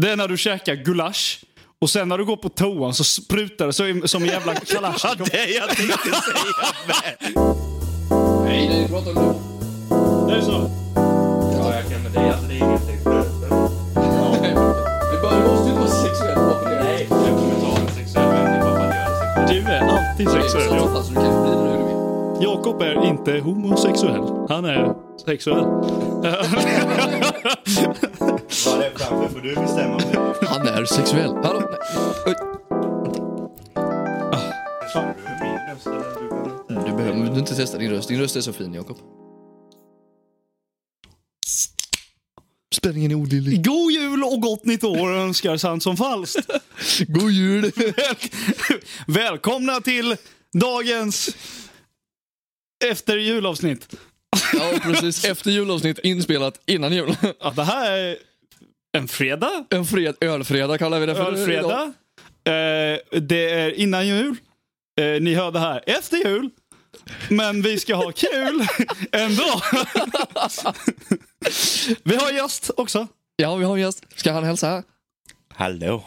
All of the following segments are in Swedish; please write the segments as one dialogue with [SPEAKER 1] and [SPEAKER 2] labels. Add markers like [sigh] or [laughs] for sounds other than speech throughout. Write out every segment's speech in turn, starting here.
[SPEAKER 1] Det är när du käkar gulasch och sen när du går på toan så sprutar det så, som en [laughs] jävla kalasch.
[SPEAKER 2] Ja, det jag tänkte säga med.
[SPEAKER 3] Nej, nej, prata om du.
[SPEAKER 1] Det är så.
[SPEAKER 4] Ja, jag kan, men det är alltså det är inget exempel.
[SPEAKER 3] Det bara- det måste ju inte vara sexuellt bara för det.
[SPEAKER 4] Nej, jag kommer ta en sexuell vändning bara för att göra sexuellt.
[SPEAKER 1] Du är alltid
[SPEAKER 3] Det är så
[SPEAKER 1] sexuell.
[SPEAKER 3] sant, alltså, du kan bli det nu, du vet.
[SPEAKER 1] Jakob är inte homosexuell. Han är sexuell.
[SPEAKER 2] Vad det är framför får du bestämma. om det.
[SPEAKER 3] Han är sexuell. Hallå? nej. Oj,
[SPEAKER 2] Känner du min röst eller du behöver inte?
[SPEAKER 3] Du behöver du inte testa din röst. Din röst är så fin, Jakob. Spänningen är olidlig.
[SPEAKER 1] God jul och gott nytt år önskar sant som falskt.
[SPEAKER 3] God jul!
[SPEAKER 1] [laughs] Välkomna till dagens efter julavsnitt.
[SPEAKER 3] Ja, precis. Efter julavsnitt inspelat innan jul.
[SPEAKER 1] Ja, det här är en fredag.
[SPEAKER 3] En fred, ölfredag kallar vi det för.
[SPEAKER 1] Ölfredag.
[SPEAKER 3] idag.
[SPEAKER 1] Eh, det är innan jul. Eh, ni hör det här efter jul. Men vi ska ha [laughs] kul ändå. vi har gäst också.
[SPEAKER 3] Ja, vi har en gäst. Ska han hälsa?
[SPEAKER 2] Hallå.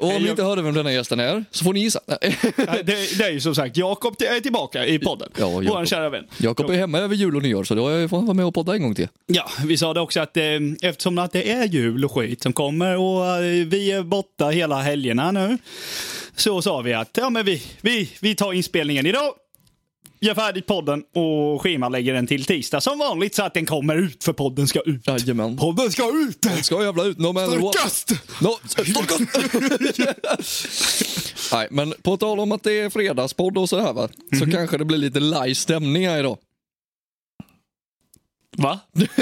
[SPEAKER 3] Och om ni
[SPEAKER 1] jag-
[SPEAKER 3] inte hörde vem denna gästen är, så får ni gissa. Nej.
[SPEAKER 1] Nej, Det, det är ju som sagt Jakob t- är tillbaka i podden.
[SPEAKER 3] Ja, Jakob.
[SPEAKER 1] Vår kära vän.
[SPEAKER 3] Jakob är hemma över jul och nyår, så då får han vara med och podda en gång till.
[SPEAKER 1] Ja, vi sa det också att eh, eftersom att det är jul och skit som kommer och eh, vi är borta hela helgerna nu. Så sa vi att ja, men vi, vi, vi tar inspelningen idag. Gör färdigt podden och schemalägger den till tisdag som vanligt så att den kommer ut för podden ska ut.
[SPEAKER 3] Jajamän.
[SPEAKER 1] Podden ska ut!
[SPEAKER 3] Ska jävla ut, no matter what.
[SPEAKER 1] Starkast!
[SPEAKER 3] No, [laughs] Nej, men på tal om att det är fredagspodd och sådär va, så kanske det blir lite live stämning här idag.
[SPEAKER 1] Va?
[SPEAKER 3] [laughs]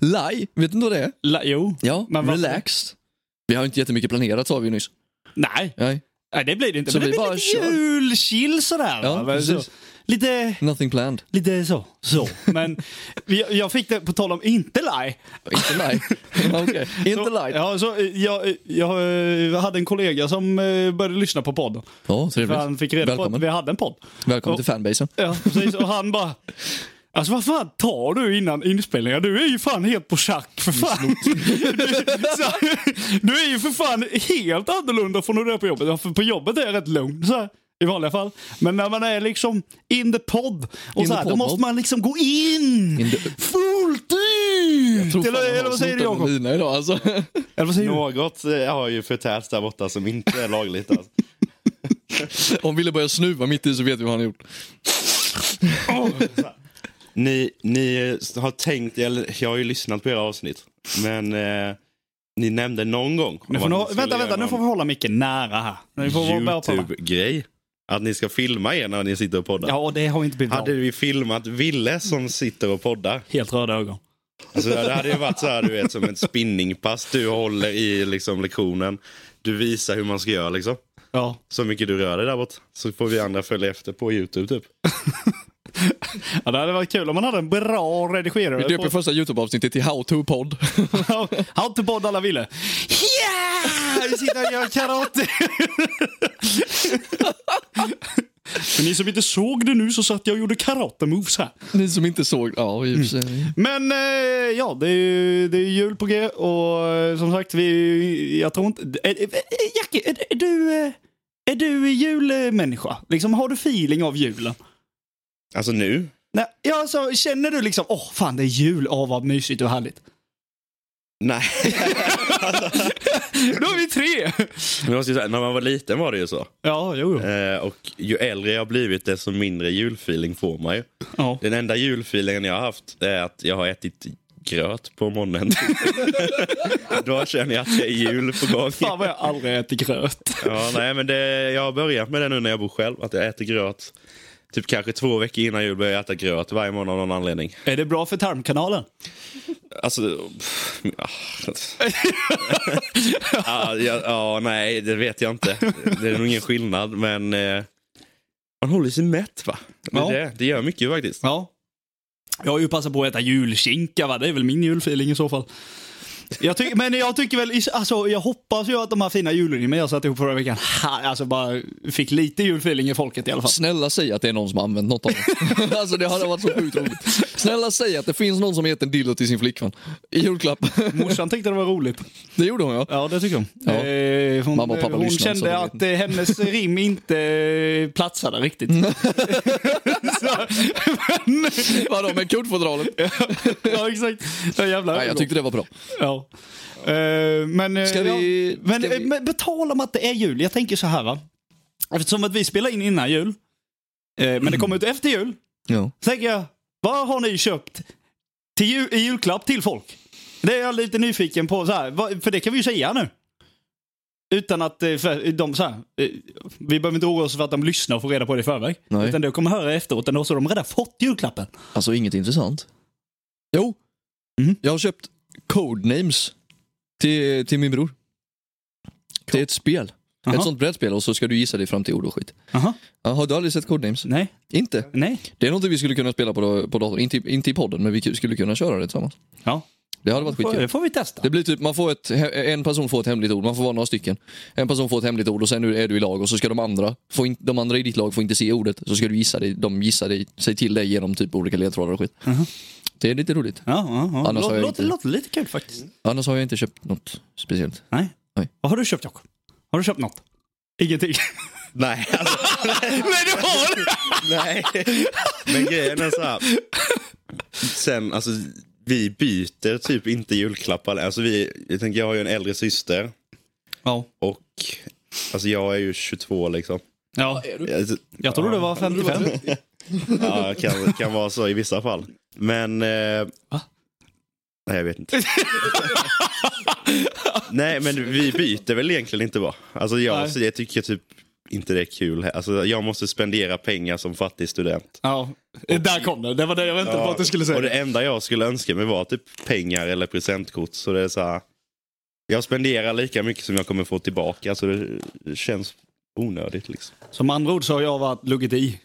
[SPEAKER 3] Live, vet du inte vad det är?
[SPEAKER 1] La, jo.
[SPEAKER 3] Ja,
[SPEAKER 1] Men varför?
[SPEAKER 3] relaxed. Vi har ju inte jättemycket planerat sa vi ju nyss.
[SPEAKER 1] Nej,
[SPEAKER 3] Nej,
[SPEAKER 1] nej, det blir det inte.
[SPEAKER 3] Så
[SPEAKER 1] men det
[SPEAKER 3] vi
[SPEAKER 1] blir
[SPEAKER 3] bara
[SPEAKER 1] lite
[SPEAKER 3] kör.
[SPEAKER 1] julchill sådär.
[SPEAKER 3] Ja,
[SPEAKER 1] va? Men så,
[SPEAKER 3] precis.
[SPEAKER 1] lite
[SPEAKER 3] nothing planned.
[SPEAKER 1] Lite så. så. Men [laughs] jag, jag fick det på tal om inte lie.
[SPEAKER 3] Inte [laughs] live. Okej, inte
[SPEAKER 1] så,
[SPEAKER 3] live.
[SPEAKER 1] Ja, så, eh, jag, eh, jag eh, hade en kollega som eh, började lyssna på podden.
[SPEAKER 3] Ja,
[SPEAKER 1] För
[SPEAKER 3] trevligt.
[SPEAKER 1] han fick reda på
[SPEAKER 3] Välkommen.
[SPEAKER 1] att vi hade en podd.
[SPEAKER 3] Välkommen till fanbasen.
[SPEAKER 1] Ja, precis. Och han bara... Alltså vad fan tar du innan inspelningar? Du är ju fan helt på schack för fan. Du, [laughs] så, du är ju för fan helt annorlunda från hur det är på jobbet. Ja, För på jobbet är jag rätt lugn så här, i vanliga fall. Men när man är liksom in the pod och
[SPEAKER 3] In
[SPEAKER 1] så
[SPEAKER 3] the
[SPEAKER 1] här, då
[SPEAKER 3] pod,
[SPEAKER 1] måste
[SPEAKER 3] pod.
[SPEAKER 1] man liksom gå in.
[SPEAKER 3] In the-
[SPEAKER 1] Fullt
[SPEAKER 3] Tror
[SPEAKER 1] ut!
[SPEAKER 3] fan
[SPEAKER 1] Eller,
[SPEAKER 3] han
[SPEAKER 1] eller
[SPEAKER 3] har
[SPEAKER 1] vad säger du
[SPEAKER 3] snott en
[SPEAKER 1] Jakob?
[SPEAKER 3] Mina idag alltså.
[SPEAKER 1] Eller vad säger du?
[SPEAKER 2] Något eh, har ju förtärts där borta som inte är lagligt. Alltså.
[SPEAKER 3] Om Ville börjar snuva mitt i så vet vi vad han har gjort.
[SPEAKER 2] Ni, ni eh, har tänkt, eller jag har ju lyssnat på era avsnitt, men eh, ni nämnde någon gång. om
[SPEAKER 1] Nu får
[SPEAKER 2] att
[SPEAKER 1] ni,
[SPEAKER 2] ni skulle
[SPEAKER 1] vänta,
[SPEAKER 2] göra
[SPEAKER 1] vänta. Nu
[SPEAKER 2] någon
[SPEAKER 1] får vi hålla micken nära här. Nu får vi bara prata.
[SPEAKER 2] Youtube-grej. Att ni ska filma er när ni sitter och poddar.
[SPEAKER 1] Ja, och det har inte blivit
[SPEAKER 2] Hade
[SPEAKER 1] av.
[SPEAKER 2] vi filmat Ville som sitter och poddar,
[SPEAKER 1] Helt röda ögon.
[SPEAKER 2] alltså, det hade ju varit så här, du vet, som ett spinningpass du håller i liksom, lektionen. Du visar hur man ska göra liksom.
[SPEAKER 1] Ja.
[SPEAKER 2] Så mycket du rör dig där bort. Så får vi andra följa efter på Youtube typ.
[SPEAKER 1] Ja, det hade varit kul om man hade en bra redigerare.
[SPEAKER 3] Vi döper första Youtube-avsnittet till How To-podd.
[SPEAKER 1] [laughs] How to podd alla ville. Yeah! Vi sitter och gör karate. [laughs] För ni som inte såg det nu så satt jag och gjorde karate-moves här.
[SPEAKER 3] [laughs] Ni som inte såg, ja i och för sig.
[SPEAKER 1] Men eh, ja, det är, ju, det är jul på G och eh, som sagt, vi, jag tror inte... Ä, ä, ä, Jackie, är, är du... eh, Är du julmänniska? Liksom, har du feeling av julen?
[SPEAKER 2] Alltså nu?
[SPEAKER 1] Nej, ja, alltså, känner du liksom, åh oh, fan det är jul, åh vad mysigt och härligt.
[SPEAKER 2] [laughs] Nej.
[SPEAKER 1] Då är vi tre!
[SPEAKER 2] Men jag måste ju säga, när man var liten var det ju så.
[SPEAKER 1] Ja, jo, jo.
[SPEAKER 2] Eh, och ju äldre jag har blivit desto mindre julfeeling får man ju.
[SPEAKER 1] Ja.
[SPEAKER 2] Den enda julfeelingen jag har haft är att jag har ätit gröt på [laughs] morgonen. Då känner jag att det är jul på gång.
[SPEAKER 1] Fan vad jag aldrig äter gröt.
[SPEAKER 2] Ja, nej, men det, jag har börjat med det nu när jag bor själv, att jag äter gröt. Typ kanske två veckor innan jul börjar jag äta gröt varje morgon av någon anledning.
[SPEAKER 1] Är det bra för tarmkanalen?
[SPEAKER 2] Alltså... pff, ah. ja, ja, ja, nej, det vet jag inte. Det är nog ingen skillnad, men... Eh, man håller sig mätt, va? Det, är
[SPEAKER 1] Ja.
[SPEAKER 2] det, det gör mycket faktiskt.
[SPEAKER 1] Ja. Jag har ju passat på att äta julskinka, va? det är väl min julfeeling i så fall. Jag tycker- men jag tycker väl, alltså, jag hoppas ju att de här fina julrimmen jag satte ihop förra veckan, ha, alltså bara fick lite julfeeling i folket i alla fall.
[SPEAKER 3] Snälla säg att det är någon som har använt något av det. [laughs] Alltså det hade varit så sjukt roligt. Snälla säg att det finns någon som gett en dildo till sin flickvän i julklapp. [laughs]
[SPEAKER 1] Morsan tyckte det var roligt.
[SPEAKER 3] Det gjorde hon ja.
[SPEAKER 1] Ja, det tycker hon.
[SPEAKER 3] Ja.
[SPEAKER 1] Eh, hon
[SPEAKER 3] Mamma och pappa
[SPEAKER 1] hon
[SPEAKER 3] lyssnar, så
[SPEAKER 1] kände
[SPEAKER 3] de
[SPEAKER 1] att
[SPEAKER 3] vet.
[SPEAKER 1] eh, hennes rim inte eh, platsade riktigt. [laughs] så, men,
[SPEAKER 3] Vadå med [laughs] kuddfodralet?
[SPEAKER 1] ja, exakt. Ja, jävlar.
[SPEAKER 3] Nej jag tyckte det var bra.
[SPEAKER 1] Ja. Eh, men, eh,
[SPEAKER 3] Ska vi-
[SPEAKER 1] ja, men,
[SPEAKER 3] ska vi-
[SPEAKER 1] eh, men betala om att det är jul. Jag tänker så här va. Eftersom att vi spelar in innan jul, eh, men det kommer ut efter jul.
[SPEAKER 3] Ja.
[SPEAKER 1] Så tänker jag, vad har ni köpt till ju, i julklapp till folk? Det är jag lite nyfiken på. Så här, vad, för det kan vi ju säga nu. Utan att eh, för, de så här, eh, vi behöver inte oroa oss för att de lyssnar och får reda på det i förväg.
[SPEAKER 3] Nej.
[SPEAKER 1] Utan de kommer höra efteråt ändå, så de har redan fått julklappen.
[SPEAKER 3] Alltså inget intressant. Jo.
[SPEAKER 1] Mhm.
[SPEAKER 3] Jag har köpt Codenames till, till min bror. Det är ett spel.
[SPEAKER 1] Aha.
[SPEAKER 3] Ett sånt brädspel och så ska du gissa dig fram till ord och skit.
[SPEAKER 1] Aha.
[SPEAKER 3] Ja, Har du aldrig sett Codenames?
[SPEAKER 1] Nej,
[SPEAKER 3] Inte?
[SPEAKER 1] nej.
[SPEAKER 3] Det är något vi skulle kunna spela på, på datorn. Inte, inte i podden, men vi skulle kunna köra det tillsammans.
[SPEAKER 1] Ja.
[SPEAKER 3] Det hade varit
[SPEAKER 1] Får,
[SPEAKER 3] skitkul.
[SPEAKER 1] det får vi testa.
[SPEAKER 3] Det blir typ, man får ett, en person får ett hemligt ord, man får vara några stycken. En person får ett hemligt ord och sen är du i lag och så ska de andra, får in, de andra i ditt lag får inte se ordet. Så ska du gissa dig, de gissar dig, sig till dig genom typ olika ledtrådar och skit.
[SPEAKER 1] Mhm.
[SPEAKER 3] Det är lite roligt.
[SPEAKER 1] Ja, ja, ja.
[SPEAKER 3] Annars har
[SPEAKER 1] Låter,
[SPEAKER 3] jag
[SPEAKER 1] låter,
[SPEAKER 3] inte-
[SPEAKER 1] låter lite kul faktiskt.
[SPEAKER 3] Annars har jag inte köpt något speciellt.
[SPEAKER 1] Nej.
[SPEAKER 3] Nej.
[SPEAKER 1] Vad har du köpt Jakob? Har du köpt något? [laughs] Ingenting.
[SPEAKER 2] Nej, alltså,
[SPEAKER 1] Nej, du har det!
[SPEAKER 2] nej. Men grejen är så här. Sen, alltså, vi byter typ inte julklappar. Alltså, vi, jag, tänker, jag har ju en äldre syster
[SPEAKER 1] Ja.
[SPEAKER 2] och alltså, jag är ju 22 liksom.
[SPEAKER 1] ja.
[SPEAKER 2] Jag-
[SPEAKER 1] Jag trodde det var 55.
[SPEAKER 2] Ja, kan, kan vara så i vissa fall. Men... Eh,
[SPEAKER 1] Va?
[SPEAKER 2] Nej, jag vet inte. nej, men vi byter väl egentligen inte va? Alltså jag,
[SPEAKER 1] Nej.
[SPEAKER 2] måste- jag tycker typ inte det är kul. he- Alltså, jag måste spendera pengar som fattig student.
[SPEAKER 1] Ja. Där kom det. Det var det jag väntade på att du skulle säga.
[SPEAKER 2] Och det enda jag skulle önska mig var typ pengar eller presentkort. Så det är så här, jag spenderar lika mycket som jag kommer få tillbaka. Så det det känns onödigt liksom.
[SPEAKER 1] Som andra ord så har jag varit luggit i.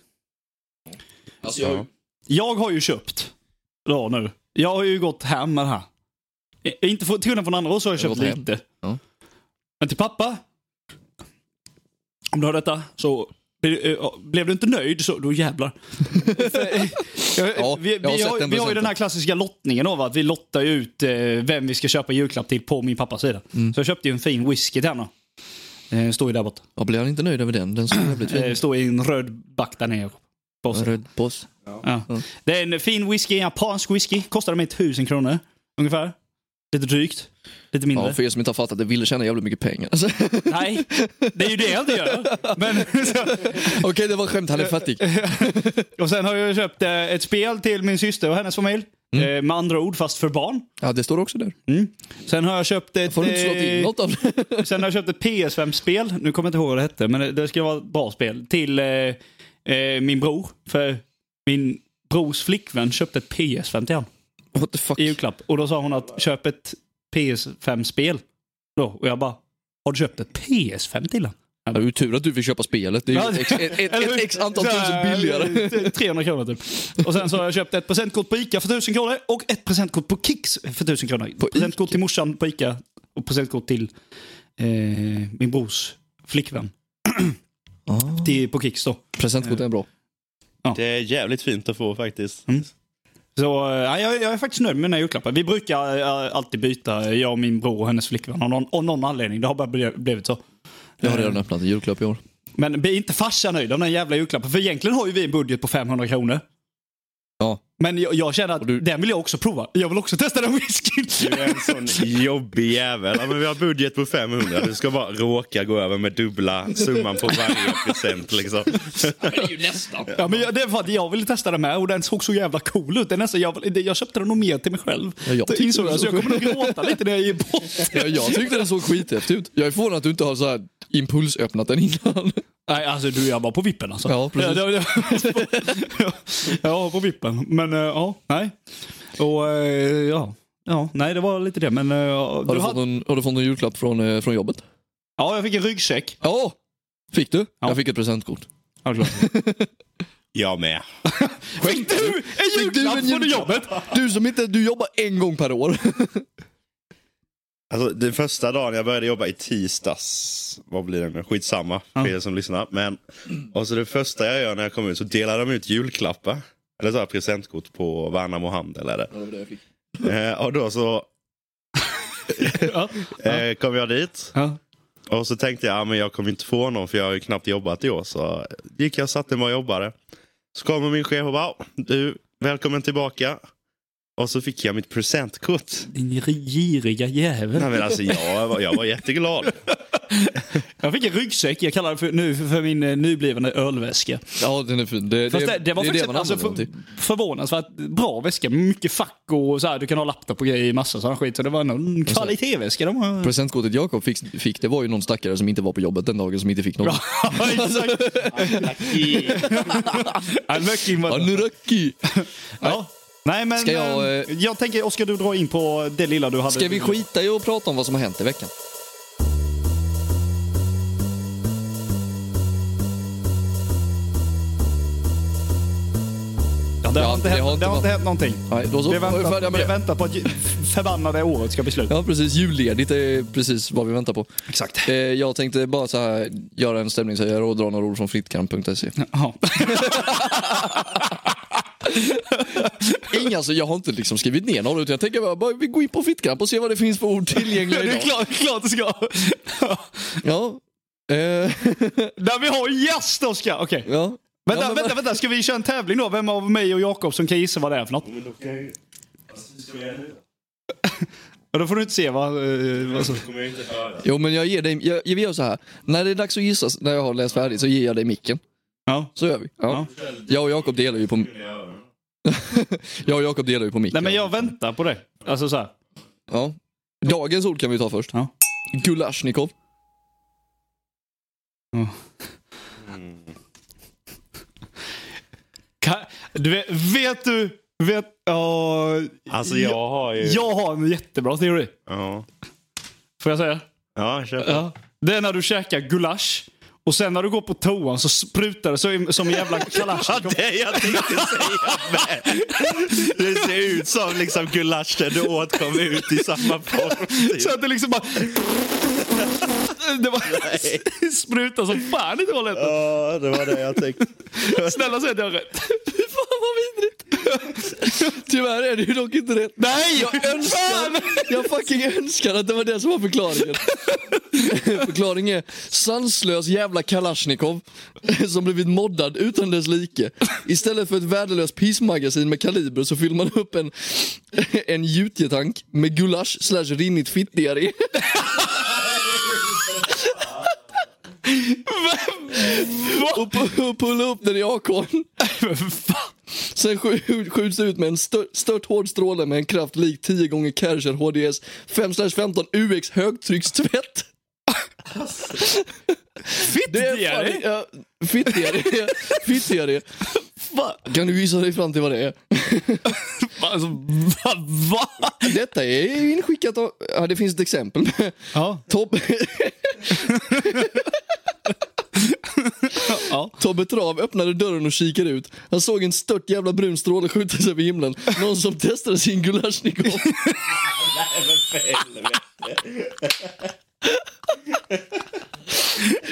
[SPEAKER 3] Alltså
[SPEAKER 2] jag-
[SPEAKER 1] Jag har ju köpt. Då nu. Jag har ju gått hem med det här. I- Inte för, till skillnad från andra år så har jag
[SPEAKER 3] Jag har
[SPEAKER 1] köpt
[SPEAKER 3] gått hem.
[SPEAKER 1] lite.
[SPEAKER 3] Ja.
[SPEAKER 1] Men till pappa. Om du har detta så blir- eh, blev du inte nöjd så då [laughs] jävlar.
[SPEAKER 3] Ja,
[SPEAKER 1] Eh, [laughs] vi, vi,
[SPEAKER 3] jag har sett
[SPEAKER 1] har, vi har
[SPEAKER 3] den
[SPEAKER 1] ju
[SPEAKER 3] presenten.
[SPEAKER 1] den här klassiska lottningen av att vi lottar ju ut eh, vem vi ska köpa julklapp till på min pappas sida.
[SPEAKER 3] Mm.
[SPEAKER 1] Så jag köpte ju en fin whisky till henne. Eh, står ju där borta.
[SPEAKER 3] Jag blir inte nöjd över den, den skulle jag bli
[SPEAKER 1] Eh,
[SPEAKER 3] tvingad.
[SPEAKER 1] står i en röd back där nere. Jakob. På sig.
[SPEAKER 3] Röd boss.
[SPEAKER 1] Ja. Det är en fin whisky, en japansk whisky. Kostade mig 1000 kronor ungefär. Lite drygt. Lite mindre.
[SPEAKER 3] Ja, för er som inte har fattat det, ville tjäna jävligt mycket pengar. [laughs] Alltså, Okej,
[SPEAKER 1] [laughs] Nej, det är ju det jag inte gör. Men, [laughs]
[SPEAKER 3] det var ett skämt, han är fattig.
[SPEAKER 1] och sen har jag köpt eh, ett spel till min syster och hennes familj.
[SPEAKER 3] Mm.
[SPEAKER 1] Eh, Med andra ord, fast för barn.
[SPEAKER 3] Ja, det står också där.
[SPEAKER 1] Sen har jag köpt ett...
[SPEAKER 3] Får du inte slå till
[SPEAKER 1] eh,
[SPEAKER 3] något av [laughs] det?
[SPEAKER 1] Sen har jag köpt ett PS5-spel, nu kommer jag inte ihåg vad det hette, men det, det ska vara ett bra spel, till eh, eh, min bror. För min brors flickvän köpte ett PS5 till honom.
[SPEAKER 3] What the fuck?
[SPEAKER 1] i julklapp. Och då sa hon att köp ett PS5-spel. Då, och jag bara, har du köpt ett PS5 till den?
[SPEAKER 3] Ja, det är ju tur att du fick köpa spelet. Det är ju ett, ett, ett,
[SPEAKER 1] Eller hur?
[SPEAKER 3] ett x antal
[SPEAKER 1] Så här,
[SPEAKER 3] tusen billigare.
[SPEAKER 1] 300 kronor typ. Och sen så har jag köpt ett presentkort på Ica för 1000 kronor och ett presentkort på Kicks för 1000 kronor.
[SPEAKER 3] På
[SPEAKER 1] presentkort till morsan på Ica och presentkort till eh, min brors flickvän
[SPEAKER 3] Ah.
[SPEAKER 1] till, på Kicks då.
[SPEAKER 3] Presentkort är bra.
[SPEAKER 2] Det är jävligt fint att få faktiskt.
[SPEAKER 1] Mm. Så eh, ja, jag, jag är faktiskt nöjd med mina julklappar. Vi brukar eh, alltid byta, jag och min bror och hennes flickvän av någon, av någon anledning. Det har bara ble- blivit så.
[SPEAKER 3] Jag har redan öppnat en julklapp i år.
[SPEAKER 1] Men bli inte farsa nöjd av den jävla julklappen. För egentligen har ju vi en budget på 500 kronor.
[SPEAKER 3] Ja.
[SPEAKER 1] Men jag, jag känner att
[SPEAKER 3] du-
[SPEAKER 1] den vill jag också prova. Jag vill också testa den whiskyn.
[SPEAKER 2] Du är en sån jobbig jävel. Ja, men vi har budget på 500. Du ska bara råka gå över med dubbla summan på varje present. Liksom.
[SPEAKER 1] [laughs] Ja, men jag, det är för att jag ville testa den med och den såg så jävla cool ut. Den nästan, jag, det- jag köpte den nog mer till mig själv.
[SPEAKER 3] Ja, jag
[SPEAKER 1] Det
[SPEAKER 3] tyckte
[SPEAKER 1] insåg
[SPEAKER 3] den
[SPEAKER 1] jag, så
[SPEAKER 3] såg
[SPEAKER 1] jag kommer nog gråta lite när jag ger bort den.
[SPEAKER 3] Ja, jag tyckte den såg skithäftig ut. Jag är förvånad att du inte har så här impulsöppnat den innan.
[SPEAKER 1] Nej, alltså du, jag var på vippen alltså.
[SPEAKER 3] Ja, precis.
[SPEAKER 1] Jag, jag, jag, jag var [laughs] på vippen. Men eh, ja, nej. Och eh, ja. Ja, nej det var lite det. Men eh,
[SPEAKER 3] Har
[SPEAKER 1] du
[SPEAKER 3] du,
[SPEAKER 1] hade-
[SPEAKER 3] fått någon, har du fått någon julklapp från, eh, från jobbet?
[SPEAKER 1] Ja, jag fick en ryggsäck.
[SPEAKER 3] Ja! Fick du? Jag fick ett presentkort.
[SPEAKER 1] Ja, klart.
[SPEAKER 2] Jag med.
[SPEAKER 1] Fick du en
[SPEAKER 3] Fick du
[SPEAKER 1] julklapp
[SPEAKER 3] en
[SPEAKER 1] från
[SPEAKER 3] julklapp?
[SPEAKER 1] jobbet?
[SPEAKER 3] Du som inte, du jobbar en gång per år.
[SPEAKER 2] Alltså, den första dagen jag började jobba i tisdags, vad blir det nu? Skitsamma för er som lyssnar. Men, och så det första jag gör när jag kommer ut så delar de ut julklappar. Eller så här presentkort på Värnamo Handel. Eller.
[SPEAKER 3] Ja, det var det jag fick.
[SPEAKER 2] Eh, och då så
[SPEAKER 1] Ja.
[SPEAKER 2] eh, kom jag dit.
[SPEAKER 1] Ja.
[SPEAKER 2] Och så tänkte jag, ah, men jag kommer inte få någon för jag har ju knappt jobbat i år. Så gick jag och satte mig och jobbade. Så kommer min chef och bara, "Ah, du, välkommen tillbaka. Och så fick jag mitt presentkort.
[SPEAKER 1] Din giriga jävel.
[SPEAKER 2] Nej, men alltså, jag, var, jag var jätteglad.
[SPEAKER 1] Jag fick en ryggsäck, jag kallar det för, nu för min eh, nyblivande ölväska.
[SPEAKER 3] Ja, den är fin. Det,
[SPEAKER 1] Fast det, det var
[SPEAKER 3] är
[SPEAKER 1] faktiskt
[SPEAKER 3] man
[SPEAKER 1] alltså,
[SPEAKER 3] använder
[SPEAKER 1] för,
[SPEAKER 3] den till.
[SPEAKER 1] förvånansvärt bra väska. Mycket fack och så här, du kan ha laptop och grejer i massa sån skit. Så det var nog en kvalitetsväska. De har...
[SPEAKER 3] Presentkortet Jakob fick, fick, det var ju någon stackare som inte var på jobbet den dagen som inte fick något. [laughs]
[SPEAKER 1] Ja,
[SPEAKER 3] Alltså,
[SPEAKER 1] exakt. I'm lucky,
[SPEAKER 3] Ja,
[SPEAKER 1] mother-
[SPEAKER 3] nu Röcki!
[SPEAKER 1] Ja. Nej, men
[SPEAKER 3] Ska jag, eh,
[SPEAKER 1] jag, jag tänker, Oskar, du drar in på det lilla du hade.
[SPEAKER 3] Ska vi skita i att prata om vad som har hänt i veckan?
[SPEAKER 1] Ja, det,
[SPEAKER 3] Ja,
[SPEAKER 1] har inte
[SPEAKER 3] det
[SPEAKER 1] hänt,
[SPEAKER 3] har
[SPEAKER 1] det
[SPEAKER 3] inte
[SPEAKER 1] har inte
[SPEAKER 3] varit-
[SPEAKER 1] hänt någonting.
[SPEAKER 3] Nej, då så.
[SPEAKER 1] Vi
[SPEAKER 3] Var vi
[SPEAKER 1] väntar,
[SPEAKER 3] färdiga med
[SPEAKER 1] vi
[SPEAKER 3] det?
[SPEAKER 1] väntar på att ju- förbannade året ska besluta.
[SPEAKER 3] Ja precis, julledigt är precis vad vi väntar på.
[SPEAKER 1] Exakt.
[SPEAKER 3] Eh, jag tänkte bara så här, göra en stämningshöjare och dra några ord från frittkamp.se.
[SPEAKER 1] [laughs] Ja.
[SPEAKER 3] Inga, alltså, jag har inte liksom skrivit ner några utan jag tänker bara, bara vi går in på frittkamp och ser vad det finns för ord tillgängliga
[SPEAKER 1] Det är
[SPEAKER 3] idag.
[SPEAKER 1] klart, klart det ska.
[SPEAKER 3] Ja. Eh,
[SPEAKER 1] Där vi har en gäst, Oskar. Okej.
[SPEAKER 3] ja.
[SPEAKER 1] Vänta,
[SPEAKER 3] ja, men-
[SPEAKER 1] vänta, vänta. Ska vi köra en tävling då? Vem av mig och Jakob som kan gissa vad det är för något? [laughs] Ja, då får du inte se vad... eh, vad som-
[SPEAKER 3] Jo men jag ger dig, jag, vi gör så här. När det är dags att gissa, när jag har läst färdigt, så ger jag dig micken.
[SPEAKER 1] Ja.
[SPEAKER 3] Så gör vi. Ja. Jag och Jakob delar ju på... [laughs] jag och Jakob delar ju på
[SPEAKER 1] Nej,
[SPEAKER 3] micken.
[SPEAKER 1] men jag väntar på det. Alltså så här.
[SPEAKER 3] ja. Dagens ord kan vi ta först.
[SPEAKER 1] Ja.
[SPEAKER 3] Gulasjnikov.
[SPEAKER 1] Ka- Du vet, vet du... Vet, ja,
[SPEAKER 2] Alltså jag har ju...
[SPEAKER 1] jag har en jättebra teori.
[SPEAKER 2] Ja,
[SPEAKER 1] Får jag säga?
[SPEAKER 2] ja kör på.
[SPEAKER 1] Ja. Det är när du käkar gulasch och sen när du går på toan så sprutar det så, som en jävla kalasjnikov.
[SPEAKER 2] Det jag tänkte säga med. Det ser ut som liksom gulaschen du åt kom ut i samma form.
[SPEAKER 1] Så att det liksom bara... Det var [laughs] sprutar som fan i toaletten.
[SPEAKER 2] Ja, det var det jag tänkte.
[SPEAKER 1] Snälla säg att jag har rätt.
[SPEAKER 3] [laughs] Fan vad vidrigt. [laughs] Tyvärr är det ju dock inte rätt.
[SPEAKER 1] Nej! [laughs]
[SPEAKER 3] Jag önskar, jag fucking önskar att det var det som var förklaringen. Förklaringen är sanslös jävla Kalashnikov som blivit moddad utan dess like. Istället för ett värdelöst pissmagasin med kaliber så fyller man upp en, en gjutjetank med gulasch slash rinnigt fittdiarré. Och, pu- och pulla upp den i akorn. Sen sk- skjuts det ut med en stört, stört hård stråle med en kraft lik 10 gånger Kärcher HDS 5-15 UX högtryckstvätt.
[SPEAKER 1] Fittdiarré?
[SPEAKER 3] fan- ja, Fittdiarré. Fittdiarré. Kan du gissa dig fram till vad det är?
[SPEAKER 1] Alltså, va? va?
[SPEAKER 3] Detta är inskickat av... Ja, det finns ett exempel.
[SPEAKER 1] Ja.
[SPEAKER 3] Tobbe...
[SPEAKER 1] Ja.
[SPEAKER 3] Tobbe Trav öppnade dörren och kikade ut. Han såg en stört jävla brun stråle skjuta sig över himlen. Någon som testade sin Gulasjnikov.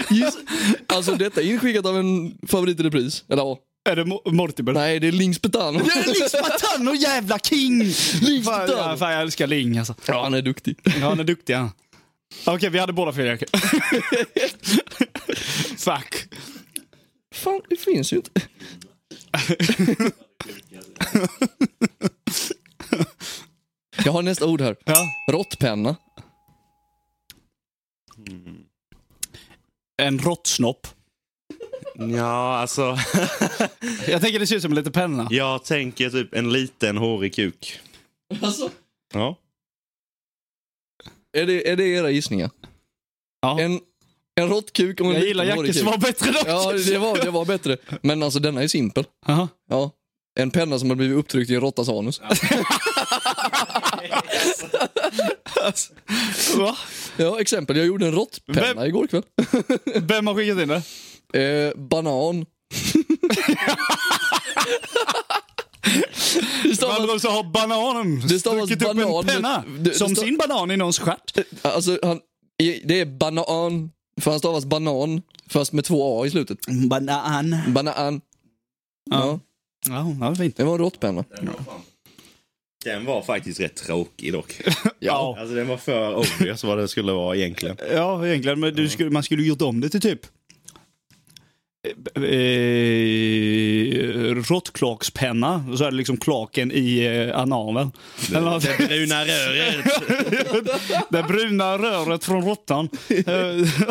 [SPEAKER 3] Just, alltså detta är inskickat av en favorit i repris. Eller ja.
[SPEAKER 1] Är det Mo- Mortimer?
[SPEAKER 3] Nej, det är Lings Petano.
[SPEAKER 1] Det är liksom Lings Patano, jävla king!
[SPEAKER 3] Lings
[SPEAKER 1] Fan,
[SPEAKER 3] Patano.
[SPEAKER 1] ja, fan, jag älskar Ling alltså.
[SPEAKER 3] Ja, han är duktig.
[SPEAKER 1] Ja, han är duktig han. Okej, vi hade båda fel.
[SPEAKER 3] [laughs]
[SPEAKER 1] Jakob. Fuck.
[SPEAKER 3] Fan, det finns ju inte. Jag har nästa ord här.
[SPEAKER 1] Ja.
[SPEAKER 3] Råttpenna.
[SPEAKER 1] En råttsnopp.
[SPEAKER 2] Ja, alltså.
[SPEAKER 1] Jag tänker det ser ut som en liten penna.
[SPEAKER 2] Jag tänker typ en liten hårig kuk.
[SPEAKER 3] Alltså.
[SPEAKER 2] Ja.
[SPEAKER 3] Är det, är det era gissningar?
[SPEAKER 1] Ja.
[SPEAKER 3] En, en råttkuk och en
[SPEAKER 1] Jag
[SPEAKER 3] liten
[SPEAKER 1] gillar Jackes
[SPEAKER 3] hårig
[SPEAKER 1] som
[SPEAKER 3] kuk.
[SPEAKER 1] var bättre dock.
[SPEAKER 3] Ja, det var, det var bättre. Men alltså denna är simpel.
[SPEAKER 1] Jaha.
[SPEAKER 3] Ja. En penna som har blivit upptryckt i en råttas anus.
[SPEAKER 1] Va?
[SPEAKER 3] Ja, exempel. Jag gjorde en råttpenna
[SPEAKER 1] Vem-
[SPEAKER 3] igår kväll.
[SPEAKER 1] Vem har skickat in det?
[SPEAKER 3] Eh, banan. Det stavas,
[SPEAKER 1] Farbror så har bananen
[SPEAKER 3] Det stavas
[SPEAKER 1] stuckit upp en
[SPEAKER 3] banan med-
[SPEAKER 1] penna.
[SPEAKER 3] det- det
[SPEAKER 1] som
[SPEAKER 3] stav-
[SPEAKER 1] sin banan i någons stjärt.
[SPEAKER 3] alltså, han, det är banan, för han stavas banan, fast med två a i slutet.
[SPEAKER 1] Banan.
[SPEAKER 3] Banan. Ja.
[SPEAKER 1] Ja. Ja, det var fint.
[SPEAKER 3] det var en råttpenna.
[SPEAKER 2] Den var faktiskt rätt tråkig [laughs] dock.
[SPEAKER 1] Ja.
[SPEAKER 2] Alltså den var för obvious vad det skulle vara egentligen.
[SPEAKER 1] Ja, egentligen. Men du skulle, man skulle ju gjort om det till typ... eh, Eh, Råttklakspenna. Och så är det liksom klaken i eh, analen. Eller något.
[SPEAKER 2] Det bruna röret.
[SPEAKER 1] [laughs] det bruna röret från råttan. Eh,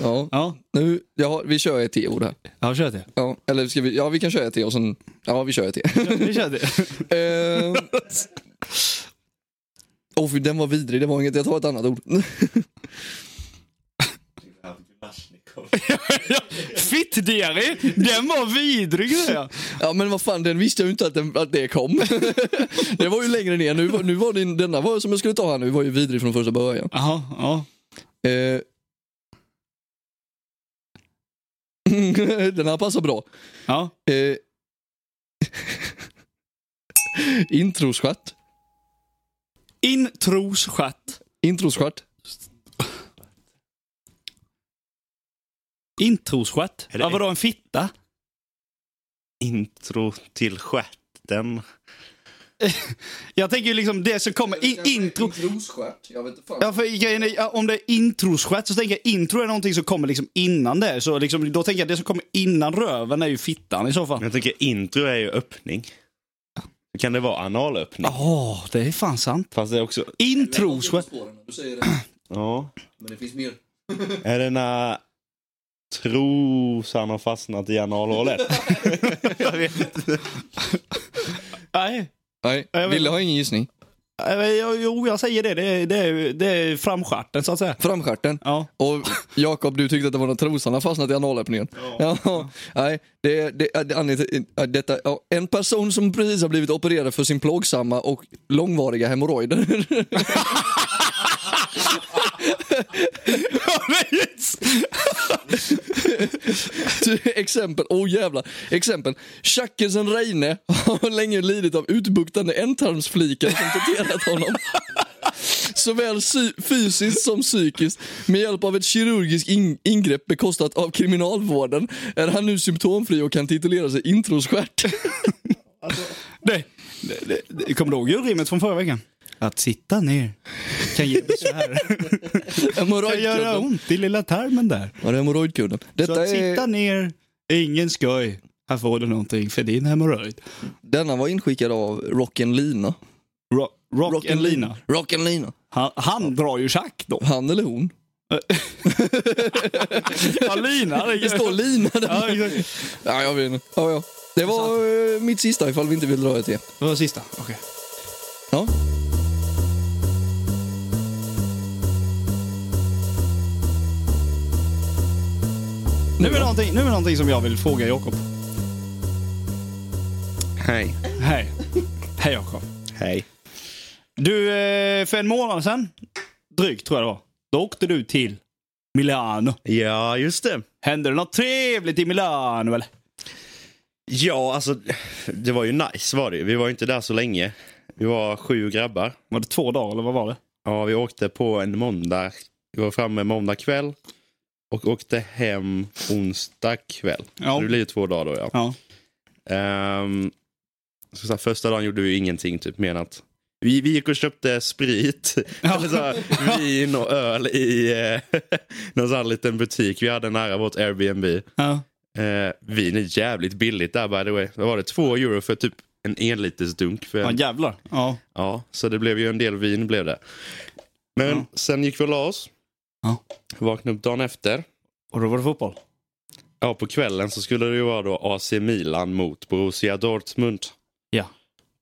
[SPEAKER 3] Ja.
[SPEAKER 1] ja,
[SPEAKER 3] Nu, jag har, vi kör ett till ord här.
[SPEAKER 1] jag har kört det.
[SPEAKER 3] Ja, eller ska vi, ja, vi kan köra ett till och sen, ja vi kör ett till.
[SPEAKER 1] Vi kör det.
[SPEAKER 3] [laughs] Ehm. Åh fy, den var vidrig, det var inget, jag tar ett annat ord. [laughs]
[SPEAKER 1] Fittdiarré! Den var vidrig det.
[SPEAKER 3] Ja men vad fan, den visste jag ju inte att, den, att det kom. [laughs] det var ju längre ner, nu, var- nu var den, denna var, som jag skulle ta här nu var ju vidrig från första början.
[SPEAKER 1] Jaha, ja.
[SPEAKER 3] Eh. [laughs] den här passar bra.
[SPEAKER 1] ja.
[SPEAKER 3] Eh. [laughs] Introskört.
[SPEAKER 1] Introsstjärt.
[SPEAKER 3] Introskört.
[SPEAKER 1] Introsstjärt?
[SPEAKER 2] Är det-
[SPEAKER 1] Ja, vadå en fitta?
[SPEAKER 2] Intro till stjärten.
[SPEAKER 1] Jag tänker ju liksom det som kommer i intro.
[SPEAKER 3] Introskört, jag vet inte fan.
[SPEAKER 1] Ja, för grejen är, ja, om det är introsstjärt så tänker jag intro är någonting som kommer liksom innan det. Så liksom, då tänker jag det som kommer innan röven är ju fittan i så fall.
[SPEAKER 2] Jag tycker intro är ju öppning. Kan det vara analöppning?
[SPEAKER 1] Ja, det är fan sant.
[SPEAKER 2] Fast det är också...
[SPEAKER 1] Introsstjärt.
[SPEAKER 3] Du säger det,
[SPEAKER 2] Ja.
[SPEAKER 3] men det finns mer.
[SPEAKER 2] Är det när trosan har fastnat i analhålet?
[SPEAKER 1] Nej,
[SPEAKER 3] Nej,
[SPEAKER 1] Jag vet
[SPEAKER 3] Ville har ingen gissning.
[SPEAKER 1] eh, jo, jo, jag säger det. Det är, det är, det är framstjärten så att säga.
[SPEAKER 3] Framstjärten.
[SPEAKER 1] Ja. [laughs]
[SPEAKER 3] Och Jakob, du tyckte att det var när trosan har fastnat i analöppningen. Ja. Nej, det, det, det, anledningen till- äh, detta, ja, en person som precis har blivit opererad för sin plågsamma och långvariga hemorrojder. [laughs] [laughs] Till Exempel, oh jävlar. Exempel, Tjackelsen Reine har länge lidit av utbuktande ändtarmsflikar som torterat honom. [laughs] Såväl sy- fysiskt som psykiskt. Med hjälp av ett kirurgiskt in- ingrepp bekostat av kriminalvården är han nu symptomfri och kan titulera sig [laughs] introsstjärt.
[SPEAKER 1] Det, det, det, det, kommer du ihåg julrimmet från förra veckan? Att sitta ner kan ge [laughs] besvär. kan göra
[SPEAKER 3] Hemorrojdkudden.
[SPEAKER 1] ont i lilla tarmen där.
[SPEAKER 3] Ja, det är hemorrojdkudden.
[SPEAKER 1] Så
[SPEAKER 3] Detta
[SPEAKER 1] att sitta
[SPEAKER 3] är,
[SPEAKER 1] ner, ingen skoj. Här får du någonting för din hemorrojd.
[SPEAKER 3] denna var inskickad av Rocken Lina.
[SPEAKER 1] Rock, rock, and Lina.
[SPEAKER 3] Rocken Lina.
[SPEAKER 1] Han, han drar ju schack då.
[SPEAKER 3] Han eller hon.
[SPEAKER 1] [laughs] Ja, Lina.
[SPEAKER 3] Det står Lina
[SPEAKER 1] Ja,
[SPEAKER 3] där.
[SPEAKER 1] exakt.
[SPEAKER 3] Ja, jag vet inte. Ja, ja. Det var eh, mitt sista ifall vi inte vill dra ett till.
[SPEAKER 1] det var sista. Okej.
[SPEAKER 3] Ja.
[SPEAKER 1] Nu, är det någonting- nu är det någonting som jag vill fråga Jakob.
[SPEAKER 2] Hej.
[SPEAKER 1] Hej. Hej Jakob.
[SPEAKER 2] Hej.
[SPEAKER 1] Du, eh, för en månad sedan, drygt tror jag det var, då åkte du till Milano.
[SPEAKER 2] Ja, just det.
[SPEAKER 1] Hände det något trevligt i Milano eller?
[SPEAKER 2] Ja, alltså det var ju nice var det ju. Vi var ju inte där så länge. Vi var sju grabbar.
[SPEAKER 1] Var det två dagar eller vad var det?
[SPEAKER 2] Ja, vi åkte på en måndag. Vi var framme måndag kväll och åkte hem onsdag kväll.
[SPEAKER 1] Ja.
[SPEAKER 2] Så det blir ju två dagar då ja.
[SPEAKER 1] Ja.
[SPEAKER 2] Ehm, så så här, första dagen gjorde vi ingenting, typ mer än att vi, vi gick och köpte sprit, [laughs] eller så här, vin och öl i eh, [laughs] någon sån här liten butik vi hade nära vårt Airbnb.
[SPEAKER 1] Ja.
[SPEAKER 2] Eh, vin är jävligt billigt där by the way. Vad var det? Två euro för typ en enliters dunk. För
[SPEAKER 1] Ja,
[SPEAKER 2] en,
[SPEAKER 1] jävlar. Ja.
[SPEAKER 2] ja, så det blev ju en del vin blev det. Men
[SPEAKER 1] Ja.
[SPEAKER 2] sen gick vi och la oss.
[SPEAKER 1] Ja.
[SPEAKER 2] Vaknade upp dagen efter.
[SPEAKER 1] Och då var det fotboll?
[SPEAKER 2] Ja, på kvällen så skulle det ju vara då AC Milan mot Borussia Dortmund.
[SPEAKER 1] Ja.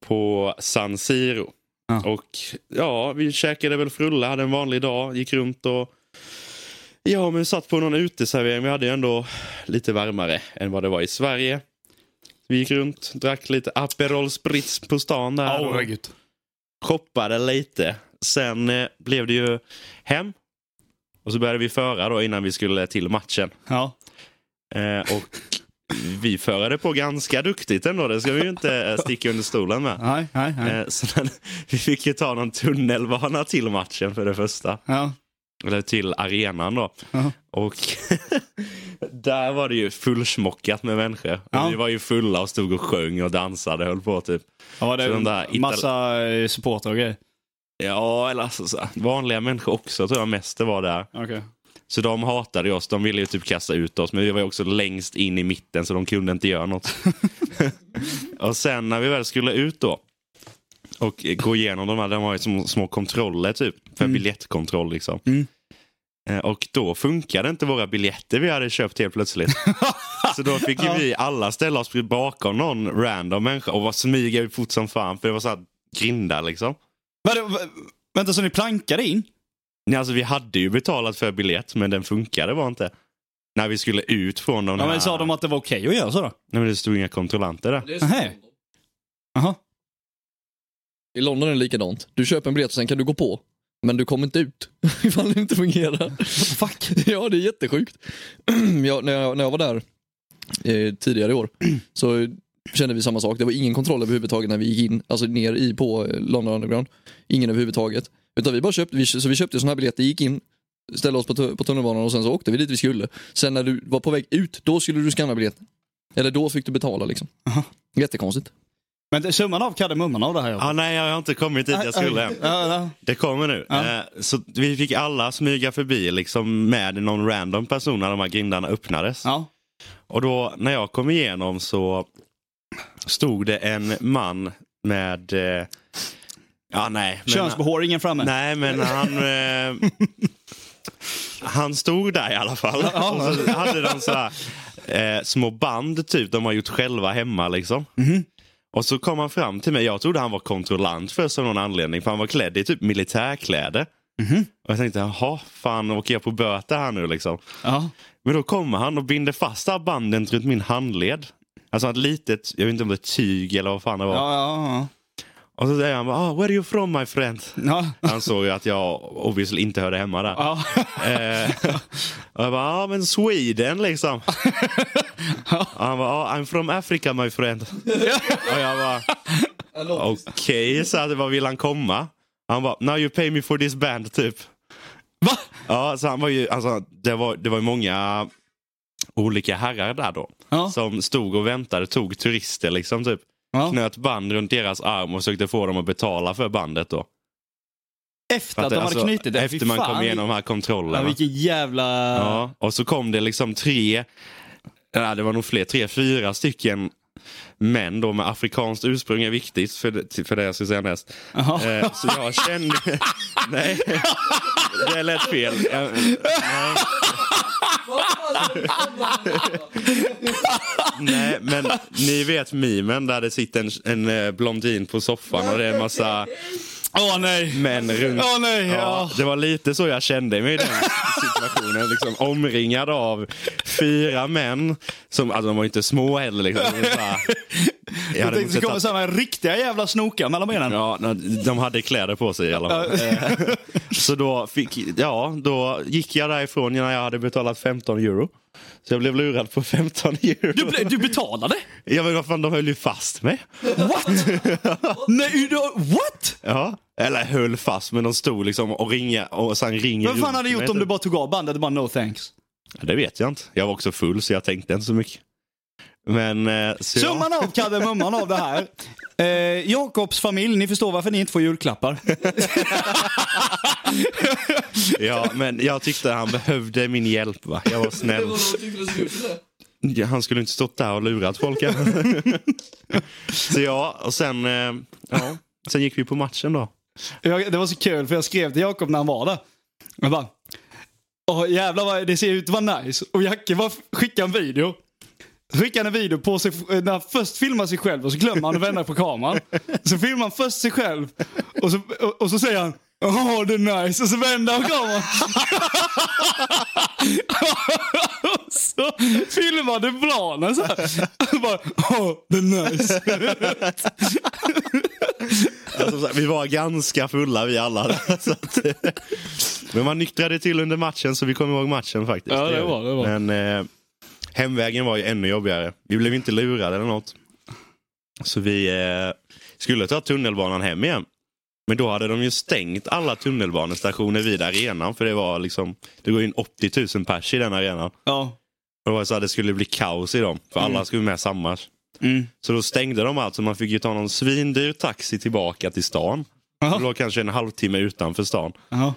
[SPEAKER 2] på San Siro.
[SPEAKER 1] Ja.
[SPEAKER 2] Och ja, vi käkade väl frulla, hade en vanlig dag, gick runt och ja, men satt på någon uteservering. Vi hade ju ändå lite varmare än vad det var i Sverige. Vi gick runt, drack lite Aperol Spritz på stan där och
[SPEAKER 1] herregud.
[SPEAKER 2] shoppade lite. Sen eh, blev det ju hem. Och så började vi föra då innan vi skulle till matchen.
[SPEAKER 1] Ja.
[SPEAKER 2] Eh, och vi förade på ganska duktigt ändå. Det ska vi ju inte eh, sticka under stolen med.
[SPEAKER 1] Nej, nej, nej.
[SPEAKER 2] Eh, Så den, [laughs] vi fick ju ta någon tunnelbana till matchen för det första.
[SPEAKER 1] Ja.
[SPEAKER 2] Eller till arenan då.
[SPEAKER 1] Ja.
[SPEAKER 2] Och [laughs] där var det ju fullsmockat med människor. Och
[SPEAKER 1] Ja.
[SPEAKER 2] Vi var ju fulla och stod och sjöng och dansade höll på typ.
[SPEAKER 1] Ja, det
[SPEAKER 2] Så
[SPEAKER 1] är
[SPEAKER 2] de där
[SPEAKER 1] en massa eh, supportrar och grejer.
[SPEAKER 2] Ja, eller alltså, så här, vanliga människor också tror jag mest det var där.
[SPEAKER 1] Okej.
[SPEAKER 2] Så de hatade ju oss. De ville ju typ kasta ut oss. Men vi var ju också längst in i mitten så de kunde inte göra något. och sen när vi väl skulle ut då. Och eh, gå igenom de här. De var ju små, små kontroller typ. För biljettkontroll liksom.
[SPEAKER 1] Mm.
[SPEAKER 2] Eh, Och då funkade inte våra biljetter vi hade köpt helt plötsligt. så då fick ju vi alla ställa oss bakom någon random människa. Och var smyga ut fort som fan. För det var så här grindar liksom.
[SPEAKER 1] Vadå, va- eh, Vänta, så ni plankade in?
[SPEAKER 2] Nej, alltså vi hade ju betalat för biljett, men den funkade bara inte. När vi skulle ut från de
[SPEAKER 1] Ja,
[SPEAKER 2] här...
[SPEAKER 1] men sa de att det var okej att göra så då?
[SPEAKER 2] Nej, men det stod inga kontrollanter där.
[SPEAKER 1] Nej. Jaha.
[SPEAKER 3] I London är det likadant. Du köper en biljett och sen kan du gå på. Men du kommer inte ut [laughs] ifall det inte fungerar. Fuck. [laughs] Ja, det är jättesjukt. [clears throat] Jag, när, jag, när jag var där eh, tidigare i år [clears throat] så kände vi samma sak. Det var ingen kontroll överhuvudtaget när vi gick in, alltså ner i på eh, London Underground. Ingen överhuvudtaget. Utan vi bara köpte, vi, så vi köpte sådana här biljetter, gick in, ställde oss på, tu- på tunnelbanan och sen så åkte vi dit vi skulle. Sen när du var på väg ut, då skulle du skanna biljetten. Eller då fick du betala liksom. Jättekonstigt.
[SPEAKER 1] Men det- summan av kardemumman av det här.
[SPEAKER 2] Ah, nej, jag har inte kommit dit jag skulle än.
[SPEAKER 1] Ja, ja.
[SPEAKER 2] Det kommer nu.
[SPEAKER 1] Ja.
[SPEAKER 2] Eh, så vi fick alla smyga förbi liksom med någon random person när de här grindarna öppnades.
[SPEAKER 1] ja.
[SPEAKER 2] Och då när jag kom igenom så stod det en man med... Eh, ja, nej. men-
[SPEAKER 1] Könsbehåringen framme.
[SPEAKER 2] Nej, men han... Eh, han stod där i alla fall. Och så hade de så här, eh, små band typ de har gjort själva hemma. liksom. Och så kom han fram till mig. Jag trodde han var kontrollant först av någon anledning. För han var klädd i typ militärkläder. Och jag tänkte, jaha, fan åker jag på böter här nu liksom?
[SPEAKER 1] Ja.
[SPEAKER 2] Men då kommer han och binder fast det här banden runt min handled. Alltså ett litet, jag vet inte om det är tyg eller vad fan det var.
[SPEAKER 1] Ja, ja,
[SPEAKER 2] Och så säger han, bara, ah, where are you from my friend?
[SPEAKER 1] ja. ja.
[SPEAKER 2] Han såg ju att jag obviously inte hörde hemma där.
[SPEAKER 1] ja.
[SPEAKER 2] Eh, och jag bara, ja ah, men Sweden liksom. Och han bara, ah, I'm from Africa my friend. och jag bara, okej, så att vad vill han komma? Han bara, now you pay me for this band typ.
[SPEAKER 1] Va?
[SPEAKER 2] Ja, så han var ju, alltså, det var ju det var ju många olika herrar där då.
[SPEAKER 1] Ja.
[SPEAKER 2] Som stod och väntade, tog turister liksom typ.
[SPEAKER 1] Ja.
[SPEAKER 2] Knöt band runt deras arm och försökte få dem att betala för bandet då.
[SPEAKER 1] Efter att de hade knutit det.
[SPEAKER 2] alltså, efter
[SPEAKER 1] Fy
[SPEAKER 2] man
[SPEAKER 1] fan,
[SPEAKER 2] kom igenom de här
[SPEAKER 1] vil- Ja,
[SPEAKER 2] kontrollerna.
[SPEAKER 1] vilken jävla...
[SPEAKER 2] Ja, och så kom det liksom tre, nej, det var nog fler, tre, fyra stycken män då med afrikanskt ursprung är viktigt för det, för det jag ska säga näst.
[SPEAKER 1] Jaha.
[SPEAKER 2] Eh, så jag kände...
[SPEAKER 1] [laughs]
[SPEAKER 2] nej, det lät fel. Eh, nej. Nej, men ni vet mimen där det sitter en, en eh, blondin på soffan och det är en massa
[SPEAKER 1] Åh nej!
[SPEAKER 2] män runt.
[SPEAKER 1] Åh nej!
[SPEAKER 2] Mm. Ja,
[SPEAKER 1] Ja.
[SPEAKER 2] det var lite så jag kände mig i den situationen. Liksom, omringad av fyra män. Som, alltså, de var ju inte små heller. Liksom. Det var så här- jag
[SPEAKER 1] Jag
[SPEAKER 2] hade
[SPEAKER 1] tänkte det
[SPEAKER 2] inte
[SPEAKER 1] kommer
[SPEAKER 2] sett att,
[SPEAKER 1] sådana riktiga jävla snokar mellan benen.
[SPEAKER 2] ja, nej, de hade kläder på sig i alla fall. Eh, [laughs] Så då, fick, ja, då gick jag därifrån när jag hade betalat 15 euro. Så jag blev lurad på 15 euro.
[SPEAKER 1] Du, ble- du betalade?
[SPEAKER 2] Ja, men vad fan, de höll ju fast mig.
[SPEAKER 1] What? nej, du, what?
[SPEAKER 2] Ja. Eller höll fast, men de stod liksom och ringa och sen ringer
[SPEAKER 1] Vad fan
[SPEAKER 2] runt
[SPEAKER 1] hade du
[SPEAKER 2] mig,
[SPEAKER 1] gjort om
[SPEAKER 2] typ.
[SPEAKER 1] du bara tog av bandet och bara no thanks?
[SPEAKER 2] Ja, Det vet jag inte. Jag var också full så jag tänkte inte så mycket. Men... eh, Så jag-
[SPEAKER 1] Summan av kardemumman av det här. Eh, Jakobs familj, ni förstår varför ni inte får julklappar.
[SPEAKER 2] Ja, men jag tyckte han behövde min hjälp. Va? Jag var snäll. Ja, Han skulle inte stått där och lurat folk. ja. så ja, och sen, eh, ja, sen gick vi på matchen då.
[SPEAKER 1] Jag, det var så kul för jag skrev till Jakob när han var där. Jag bara, Åh, jävlar vad det ser ut att vara nice. Och Jacke bara skickade en video. Skickade en video på sig, när han först filmar sig själv och så glömmer han att vända på kameran. Så filmar han först sig själv och så, och, och så säger han Åh, det är nice. Och så vänder han kameran. [laughs] Och så filmade planen så här. Och bara, Åh, det är nice.
[SPEAKER 2] Alltså, så här, vi var ganska fulla vi alla. [laughs] där, Så att, eh, men man nyktrade till under matchen så vi kom ihåg matchen faktiskt.
[SPEAKER 1] Ja, det
[SPEAKER 2] gör vi.
[SPEAKER 1] var- det var.
[SPEAKER 2] Men, eh, Hemvägen var ju ännu jobbigare. Vi blev inte lurade eller något. Så vi eh, skulle ta tunnelbanan hem igen. Men då hade de ju stängt alla tunnelbanestationer vid arenan. För det var liksom, det går in 80 000 pers i den arenan.
[SPEAKER 1] Ja.
[SPEAKER 2] Och det var så att det skulle bli kaos i dem. För alla skulle med samma.
[SPEAKER 1] Mm.
[SPEAKER 2] Så då stängde de allt. Så man fick ju ta någon svindyr taxi tillbaka till stan.
[SPEAKER 1] Jaha.
[SPEAKER 2] Det låg kanske en halvtimme utanför stan.
[SPEAKER 1] Jaha.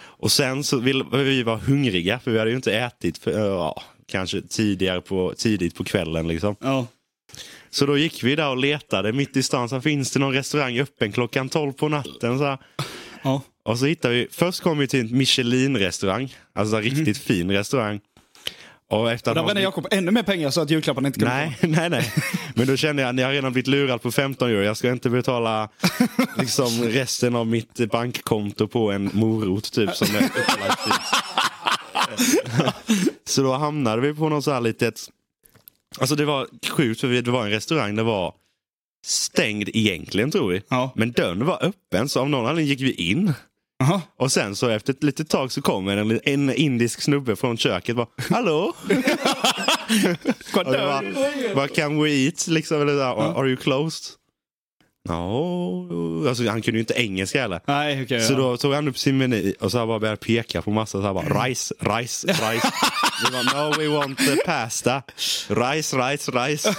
[SPEAKER 2] Och sen så ville vi var hungriga. För vi hade ju inte ätit för, ja, kanske tidigare på, tidigt på kvällen. Liksom.
[SPEAKER 1] Ja.
[SPEAKER 2] Så då gick vi där och letade mitt i stan. Så här, finns det någon restaurang öppen klockan 12 på natten? Så här.
[SPEAKER 1] Ja.
[SPEAKER 2] Och så hittade vi, först kom vi till en Michelin-restaurang. Alltså en riktigt fin restaurang. Och efter att
[SPEAKER 1] Där
[SPEAKER 2] man-
[SPEAKER 1] brände Jakob ännu mer pengar så att julklapparna inte kunde
[SPEAKER 2] Nej, nej, nej. Men då kände jag att jag har redan blivit lurad på 15 euro. Jag ska
[SPEAKER 1] [laughs]
[SPEAKER 2] inte betala liksom, resten av mitt bankkonto på en morot typ som är upplagt till. Så då hamnade vi på något så här litet... Alltså det var sjukt för vi- det var en restaurang. Det var stängd egentligen tror vi.
[SPEAKER 1] Ja.
[SPEAKER 2] Men dörren var öppen så av någon anledning gick vi in.
[SPEAKER 1] Jaha.
[SPEAKER 2] Och sen så efter ett litet tag så kommer en, en indisk snubbe från köket. Bara, Hallå? Och det var, bara, can we eat? Liksom, eller, där, Are you closed? No. Alltså, han kunde ju inte engelska heller.
[SPEAKER 1] Nej, okej.
[SPEAKER 2] Så då tog han upp sin meny och så här bara började peka på massa. Så här bara, rice, rice, rice. Vi bara, no we want the pasta. Rice, rice, rice.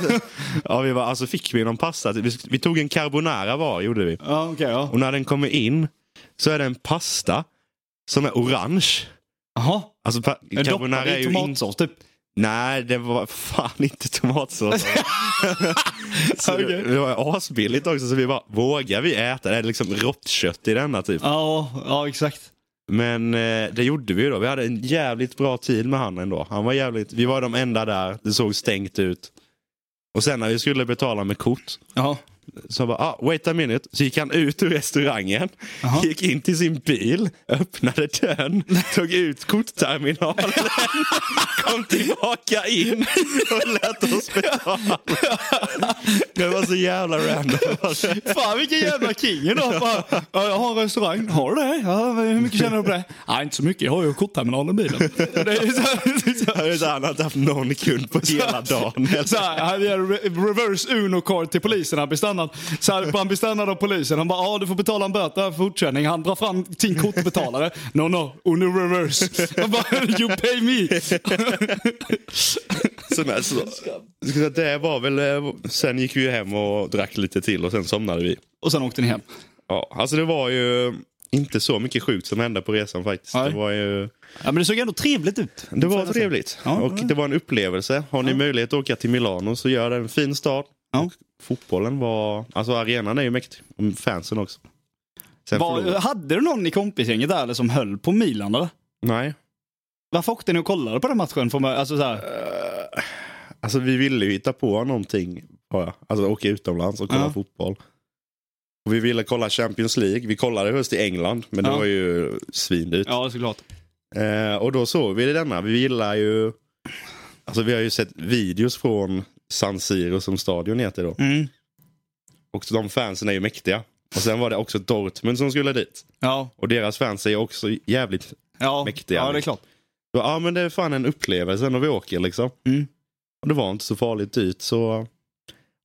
[SPEAKER 2] ja, vi bara, alltså fick vi någon pasta? Vi, vi tog en carbonara var, gjorde vi.
[SPEAKER 1] ja. Ja, okej. ja.
[SPEAKER 2] Och när den kommer in så är det en pasta som är orange.
[SPEAKER 1] Jaha.
[SPEAKER 2] Alltså pa-
[SPEAKER 1] En
[SPEAKER 2] carbonara är
[SPEAKER 1] doppad i
[SPEAKER 2] ju inte...
[SPEAKER 1] tomatsås typ.
[SPEAKER 2] Nej, det var fan
[SPEAKER 1] [laughs]
[SPEAKER 2] inte tomatsås. så det,
[SPEAKER 1] Okej.
[SPEAKER 2] det var asbilligt också, så vi bara, vågar vi äta? Det är liksom rått kött i denna typ.
[SPEAKER 1] Ja, ja exakt.
[SPEAKER 2] Men eh, det gjorde vi ju då. Vi hade en jävligt bra tid med han ändå. Han var jävligt... Vi var de enda där, det såg stängt ut. Och sen när vi skulle betala med kort,
[SPEAKER 1] Ja.
[SPEAKER 2] så han bara, ah, wait a minute. Så gick han ut ur restaurangen,
[SPEAKER 1] Jaha.
[SPEAKER 2] gick in till sin bil, öppnade dörren, tog ut kortterminalen, [laughs] kom tillbaka in och lät oss betala. Det var så jävla random.
[SPEAKER 1] Fan vilken jävla king idag. Bara, [laughs] ja, jag har en restaurang. Har du det? Ja, hur mycket tjänar du
[SPEAKER 2] [laughs]
[SPEAKER 1] på det? Nej, inte så mycket. Jag har ju kortterminalen i bilen. Det är så här- så här-
[SPEAKER 2] Det är så här, Han hade inte haft någon kund på hela dagen.
[SPEAKER 1] Så här, han gör re- reverse Uno-card till polisen. Han blir stannad. Så här, han blir stannad av polisen. Han bara, ja du får betala en böter här för fortkörning. Han drar fram sin kortbetalare. No, no, Uno reverse. Han bara, you pay me.
[SPEAKER 2] Så, men, så, jag skulle säga, det var väl, eh, sen gick vi ju hem och drack lite till och sen somnade vi.
[SPEAKER 1] Och sen åkte ni hem.
[SPEAKER 2] Ja, alltså det var ju inte så mycket sjukt som hände på resan faktiskt.
[SPEAKER 1] Nej.
[SPEAKER 2] Det var ju...
[SPEAKER 1] Ja, men det såg ändå trevligt ut.
[SPEAKER 2] Det var trevligt
[SPEAKER 1] Ja,
[SPEAKER 2] och
[SPEAKER 1] det var-
[SPEAKER 2] det var en upplevelse. Har ni möjlighet att åka till Milano så gör det. En fin stad.
[SPEAKER 1] Ja.
[SPEAKER 2] Fotbollen var... Alltså arenan är ju mäktig. Och fansen också. Sen
[SPEAKER 1] Var,
[SPEAKER 2] förlorade...
[SPEAKER 1] hade du någon i kompisgänget där eller som höll på Milan? Eller?
[SPEAKER 2] Nej.
[SPEAKER 1] Varför åkte ni och kollade på den matchen? För mig? Alltså, så här.
[SPEAKER 2] Alltså vi ville ju hitta på någonting. har jag. Alltså åka utomlands och kolla
[SPEAKER 1] Ja.
[SPEAKER 2] fotboll. Och vi ville kolla Champions League. Vi kollade först i England, men det
[SPEAKER 1] Ja.
[SPEAKER 2] var ju svindyrt.
[SPEAKER 1] Ja, såklart.
[SPEAKER 2] Eh, och då såg vi det denna. Vi gillar ju... Alltså vi har ju sett videos från San Siro som stadion heter då.
[SPEAKER 1] Mm.
[SPEAKER 2] Och de fansen är ju mäktiga. Och sen var det också Dortmund som skulle dit.
[SPEAKER 1] Ja,
[SPEAKER 2] Och deras fans är ju också jävligt...
[SPEAKER 1] ja.
[SPEAKER 2] Mäktiga,
[SPEAKER 1] ja, det är
[SPEAKER 2] liksom.
[SPEAKER 1] klart.
[SPEAKER 2] Ja ah, men det är fan en upplevelse när vi åker liksom.
[SPEAKER 1] Mm.
[SPEAKER 2] Och det var inte så farligt dit så...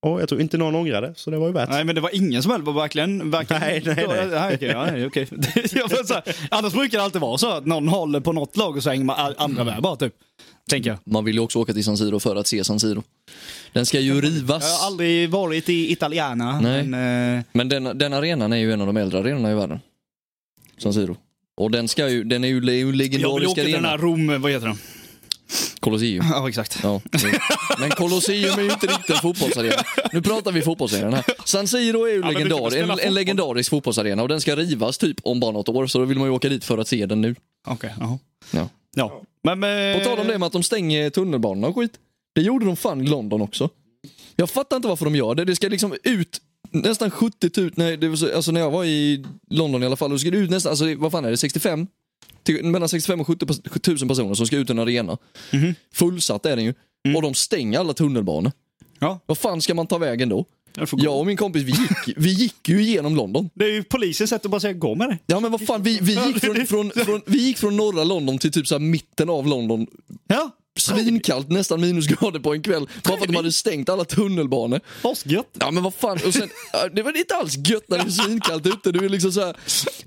[SPEAKER 2] Och jag tror inte någon ångrade så det var ju värt.
[SPEAKER 1] Nej, men det var ingen som höll på verkligen. verkligen.
[SPEAKER 2] Nej, nej, nej.
[SPEAKER 1] Ja, okej, ja, nej, [laughs] okej. Jag får så här, annars brukar det alltid vara så att någon håller på något lag och så hänger man all- andra med bara, typ. Tänker jag.
[SPEAKER 3] Man vill ju också åka till San Siro för att se San Siro. Den ska ju rivas.
[SPEAKER 1] Jag har aldrig varit i Italiana.
[SPEAKER 3] Nej.
[SPEAKER 1] Men, eh,
[SPEAKER 3] Men den, den arenan är ju en av de äldre arenorna i världen. San Siro. Och den, ska ju, den är ju, är ju en
[SPEAKER 1] jag vill
[SPEAKER 3] legendarisk
[SPEAKER 1] åka till den
[SPEAKER 3] arena.
[SPEAKER 1] här Rom, vad heter den?
[SPEAKER 3] Colosseum.
[SPEAKER 1] Ja, exakt. [laughs]
[SPEAKER 3] Ja. Men Colosseum är ju inte riktigt en fotbollsarena. Nu pratar vi fotbollsarena här. San Siro är ju
[SPEAKER 1] men du kan
[SPEAKER 3] legendar,
[SPEAKER 1] spela
[SPEAKER 3] en,
[SPEAKER 1] fotboll.
[SPEAKER 3] en legendarisk fotbollsarena och den ska rivas typ om bara något år så då vill man ju åka dit för att se den nu.
[SPEAKER 1] Okej, jaha.
[SPEAKER 3] Ja.
[SPEAKER 1] Ja. Men, eh,
[SPEAKER 3] På tal om det med att de stänger tunnelbanorna och skit. Det gjorde de fan i London också. Jag fattar inte varför de gör det. Det ska liksom ut nästan 70 000, nej, det var så, alltså när jag var i London i alla fall, då ska det ut nästan, alltså det- vad fan är det, 65? Till, mellan 65 och 70 pers- 000 personer som ska ut i en arena. Fullsatt är den ju. Och de stänger alla tunnelbanor.
[SPEAKER 1] Ja.
[SPEAKER 3] Vad fan ska man ta vägen då?
[SPEAKER 1] Jag får gå.
[SPEAKER 3] Jag och min kompis, vi gick, vi gick ju igenom London.
[SPEAKER 1] Det är ju polisens sätt att bara säga gå med det.
[SPEAKER 3] Ja men vad fan, vi, vi, gick, från, från, från, vi gick från norra London till typ så här mitten av London
[SPEAKER 1] Ja.
[SPEAKER 3] Svinkallt, nästan minusgrader på en kväll. Bara för att de hade stängt alla tunnelbanor.
[SPEAKER 1] Asgött.
[SPEAKER 3] Ja men vad fan, och sen, ja, det var inte alls gött när det är svinkallt ute. Du är liksom så här,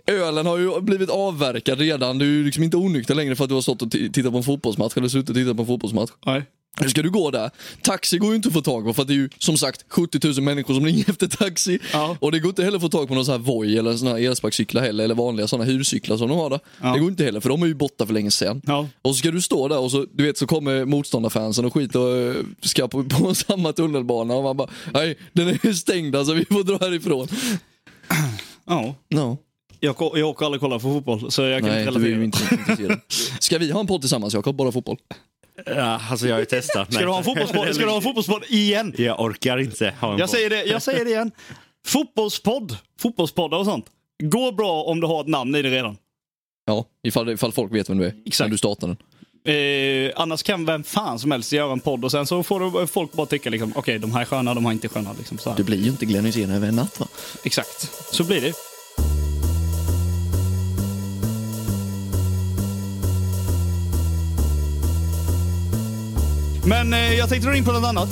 [SPEAKER 3] ölen har ju blivit avverkad redan, du är liksom inte onykter längre för att du har stått och t- tittat på en fotbollsmatch eller suttit och tittat på en fotbollsmatch.
[SPEAKER 1] Nej.
[SPEAKER 3] Nu ska du gå där. Taxi går ju inte att få tag på för att det är ju som sagt 70 000 människor som ringer [laughs] efter taxi.
[SPEAKER 1] Ja.
[SPEAKER 3] Och det går inte heller att få tag på någon sån här Voi eller såna här elsparkcyklar heller eller vanliga såna hyrcyklar som de har där. Det går inte heller för de är ju borta för länge sedan.
[SPEAKER 1] Ja.
[SPEAKER 3] Och så ska du stå där och så, du vet, så kommer motståndarfansen och skit och eh, ska på, [laughs] på samma tunnelbana och man bara nej den är stängd alltså vi får dra härifrån.
[SPEAKER 1] Ja.
[SPEAKER 3] No.
[SPEAKER 1] Jag, ko- jag åker aldrig kolla på fotboll, så jag kan
[SPEAKER 3] Nej,
[SPEAKER 1] inte
[SPEAKER 3] du är ju
[SPEAKER 1] relatera.
[SPEAKER 3] inte
[SPEAKER 1] [laughs]
[SPEAKER 3] intresserad. Ska vi ha en podd tillsammans Jakob, bara fotboll?
[SPEAKER 5] Ja, alltså jag har ju testat.
[SPEAKER 1] Ska du ha en fotbollspodd? Ska du ha en [laughs] fotbollspodd igen?
[SPEAKER 5] Jag orkar inte ha en
[SPEAKER 1] Jag säger det, jag säger det igen. Fotbollspodd, fotbollspoddar och sånt. Går bra om du har ett namn i det redan.
[SPEAKER 3] Ja, ifall, ifall folk vet vem du är.
[SPEAKER 1] Exakt.
[SPEAKER 3] När du startar den.
[SPEAKER 1] Eh, annars kan vem fan som helst göra en podd och sen så får du- folk bara tycka liksom, okej de här är sköna, de här är inte sköna. Liksom, så här.
[SPEAKER 3] blir ju inte Glenn Hysén över en natt va?
[SPEAKER 1] Exakt, så blir det. Men eh, jag tänkte dra in på något annat.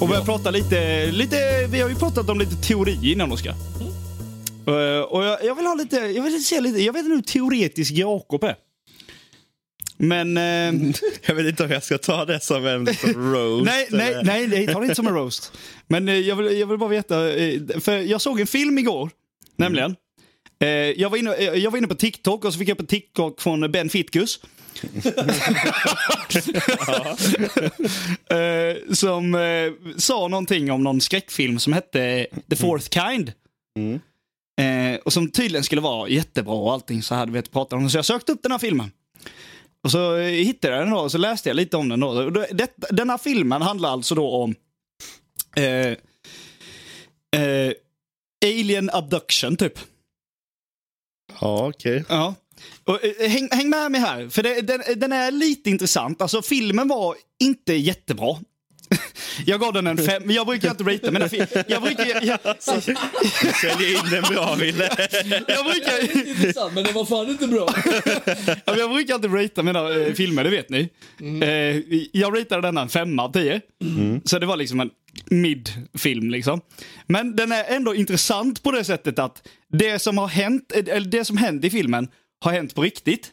[SPEAKER 1] Och börja prata lite, lite, vi har ju pratat om lite teori innan Oskar. Eh, och jag, jag vill ha lite, jag vill se lite, jag vet inte hur teoretisk Jakob är. Men... [laughs] Eh,
[SPEAKER 2] Jag vet inte om jag ska ta det som
[SPEAKER 5] [laughs]
[SPEAKER 2] en liksom roast.
[SPEAKER 1] Nej, nej,
[SPEAKER 2] eller-
[SPEAKER 1] nej, nej, ta det inte som en roast. Men eh, jag vill, jag vill bara veta, eh, för jag såg en film igår, nämligen. Eh, jag, var inne, eh, jag var inne på TikTok och så fick jag på TikTok från Ben Fitkus.
[SPEAKER 2] [laughs]
[SPEAKER 1] eh, som eh, sa någonting om någon skräckfilm som hette The Fourth Kind.
[SPEAKER 2] Mm.
[SPEAKER 1] Eh, och som tydligen skulle vara jättebra och allting så här, du vet, pratade om den. Så jag sökte upp den här filmen. Och så eh, hittade jag den då och så läste jag lite om den då. Och då- Det, den här filmen handlar alltså då om eh, eh, alien abduction typ.
[SPEAKER 2] Ja, okej.
[SPEAKER 1] Ja. Och, eh, häng, häng med mig här, för det, den, den är lite intressant. Alltså filmen var inte jättebra. [laughs] Jag gav den en fem, jag brukar inte ratea men den fi- jag brukar, jag, jag,
[SPEAKER 2] Sälj in den bra, Wille.
[SPEAKER 1] jag brukar,
[SPEAKER 3] Intressant, men det var fan inte bra.
[SPEAKER 1] Ja, men jag brukar alltid ratea mina eh, filmer, det vet ni. Eh, jag ratade denna en femma av tio. Så det var liksom en mid-film. Liksom. Men den är ändå intressant på det sättet att det som har hänt, eh, eller det som hände i filmen har hänt på riktigt.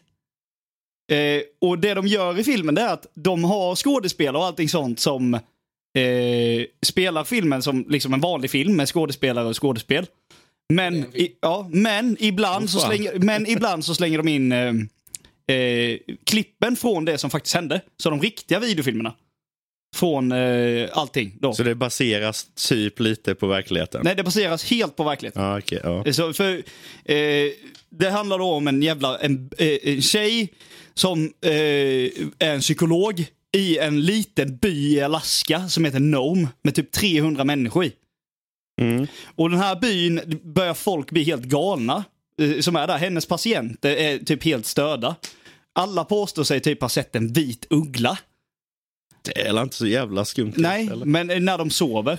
[SPEAKER 1] Eh, och det de gör i filmen det är att de har skådespelare och allting sånt som eh, spelar filmen som liksom en vanlig film med skådespelare och skådespel. Men, i, ja, men, ibland, så slänger, men ibland så slänger de in eh, eh, klippen från det som faktiskt hände. Så de riktiga videofilmerna. Från eh, allting. Då.
[SPEAKER 2] Så det baseras typ lite på verkligheten?
[SPEAKER 1] Nej, det baseras helt på verkligheten.
[SPEAKER 2] Ja, okej. ja.
[SPEAKER 1] Så, för, eh, det handlar då om en jävla en, eh, en tjej som eh, är en psykolog i en liten by i Alaska som heter Nome med typ 300 människor i. Och den här byn börjar folk bli helt galna. eh, Som är där. Hennes patienter är typ helt störda. Alla påstår sig typ ha sett en vit uggla.
[SPEAKER 2] Det är väl inte så jävla skumt?
[SPEAKER 1] Nej,
[SPEAKER 2] eller?
[SPEAKER 1] men eh, när de sover.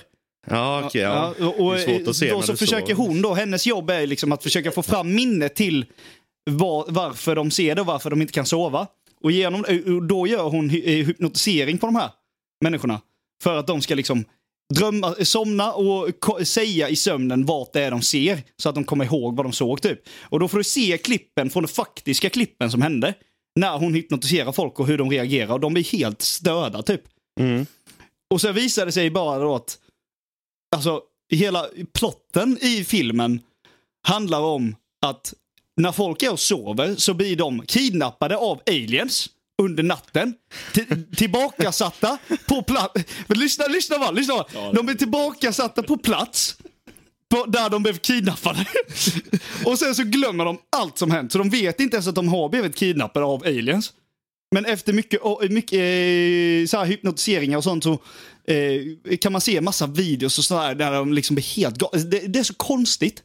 [SPEAKER 2] Ja, okej. ja.
[SPEAKER 1] Ja, och, och,
[SPEAKER 2] det är svårt att se
[SPEAKER 1] då
[SPEAKER 2] när
[SPEAKER 1] så
[SPEAKER 2] du
[SPEAKER 1] försöker
[SPEAKER 2] sover.
[SPEAKER 1] hon då, hennes jobb är liksom att försöka få fram minne till var, varför de ser det och varför de inte kan sova. Och genom, och då gör hon hy- eh, hypnotisering på de här människorna. För att de ska liksom drömma, somna och ko- säga i sömnen vart det är de ser. Så att de kommer ihåg vad de såg typ. Och då får du se klippen från de faktiska klippen som hände. När hon hypnotiserar folk och hur de reagerar. Och de blir helt störda typ.
[SPEAKER 2] Mm.
[SPEAKER 1] Och sen visar det sig bara då att alltså, hela plotten i filmen handlar om att när folk är och sover så blir de kidnappade av aliens under natten. Till, tillbakasatta på plats. Lyssna, lyssna va, lyssna va. De blir tillbakasatta på plats. På, där de blev kidnappade. [laughs] och sen så glömmer de allt som hänt. Så de vet inte ens att de har blivit kidnappade av aliens. Men efter mycket, och- mycket eh, så här hypnotiseringar och sånt så eh, kan man se massa videos och sådär där de liksom blir helt galna. Det, det är så konstigt.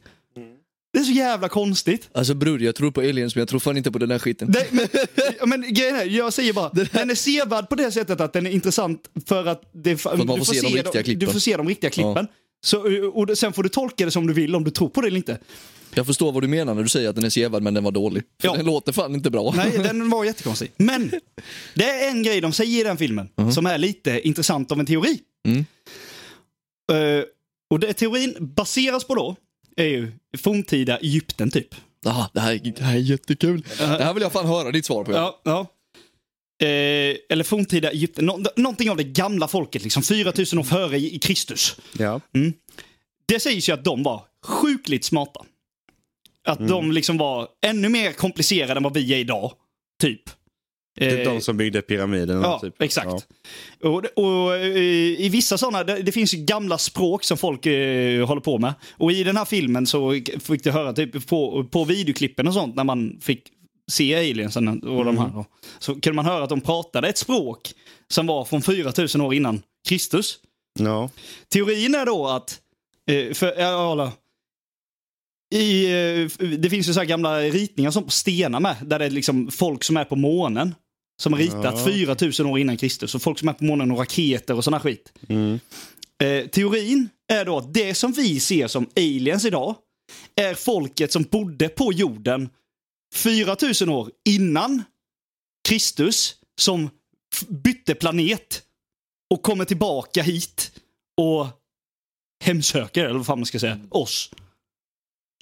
[SPEAKER 1] Det är så jävla konstigt.
[SPEAKER 3] Alltså bror, jag tror på aliens men jag tror fan inte på den där skiten.
[SPEAKER 1] Det, men, ja, men [laughs] grejen är, jag säger bara, den är sevärd på det sättet att den är intressant för att, det, för
[SPEAKER 3] man får se de riktiga klippen.
[SPEAKER 1] eh, du får se de riktiga klippen. Så, och sen får du tolka det som du vill om du tror på det eller inte.
[SPEAKER 3] Jag förstår vad du menar när du säger att den är så jävla men den var dålig. För
[SPEAKER 1] Ja.
[SPEAKER 3] den låter fan inte bra.
[SPEAKER 1] Nej, den var jättekonstig. Men det är en grej de säger i den filmen
[SPEAKER 2] Mm.
[SPEAKER 1] som är lite intressant av en teori.
[SPEAKER 3] Mm.
[SPEAKER 1] Eh, och det teorin baseras på då är ju forntida Egypten typ.
[SPEAKER 3] [laughs] Ah, det, här, det här är jättekul. Det här vill jag fan höra ditt svar på.
[SPEAKER 1] Ja, ja. Eh, eller forntida Egypten, nå- någonting av det gamla folket, liksom 4000 år före i- i Kristus. Mm.
[SPEAKER 2] Ja.
[SPEAKER 1] Det sägs ju att de var sjukligt smarta. Att
[SPEAKER 2] Mm.
[SPEAKER 1] de liksom var ännu mer komplicerade än vad vi är idag, typ.
[SPEAKER 2] Det är
[SPEAKER 1] Eh,
[SPEAKER 2] de som byggde pyramiderna.
[SPEAKER 1] Ja,
[SPEAKER 2] typ.
[SPEAKER 1] exakt.
[SPEAKER 2] Ja.
[SPEAKER 1] Och, och, eh, I vissa sådana, det, det finns ju gamla språk som folk eh, håller på med. Och i den här filmen så fick du höra typ på, på videoklippen och sånt när man fick se aliensen och de här. då, Så kunde man höra att de pratade ett språk som var från 4000 år innan Kristus.
[SPEAKER 2] Ja.
[SPEAKER 1] Teorin är då att, eh, för, ja, alla, i, eh, f- det finns ju så här gamla ritningar som på stenar med, där det är liksom folk som är på månen. Som har ritat
[SPEAKER 2] Ja.
[SPEAKER 1] 4000 år innan Kristus. Och folk som är på månen och raketer och sån här skit.
[SPEAKER 2] Mm.
[SPEAKER 1] Eh, teorin är då att det som vi ser som aliens idag är folket som bodde på jorden 4000 år innan Kristus som f- bytte planet och kommer tillbaka hit och hemsöker, eller vad fan man ska säga, oss.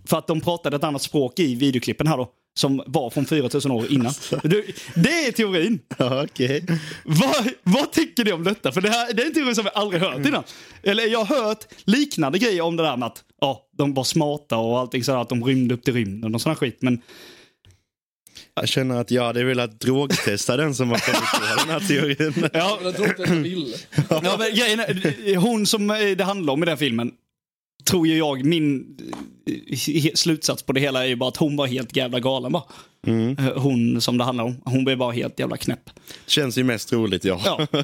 [SPEAKER 1] För att de pratade ett annat språk i videoklippen här då, som var från 4000 år innan. Du, det är teorin!
[SPEAKER 2] Ja, okej.
[SPEAKER 1] Vad, vad tycker ni om detta? För det, här, det är en teori som jag aldrig hört innan. Eller jag har hört liknande grejer om det där med att ja, de var smarta och allting sådär, att de rymde upp till rymden och sån här skit. Men
[SPEAKER 2] Jag känner att jag hade velat drogtesta den som har kommit på den här teorin.
[SPEAKER 1] ja,
[SPEAKER 3] Jag tror inte jag vill.
[SPEAKER 1] ja, men grejen är, hon som eh, det handlar om i den filmen, tror ju jag, min eh, he- slutsats på det hela är ju bara att hon var helt jävla galen bara. Eh, Hon som det handlar om. Hon blev bara helt jävla knäpp.
[SPEAKER 2] Känns ju mest roligt, ja.
[SPEAKER 1] Ja.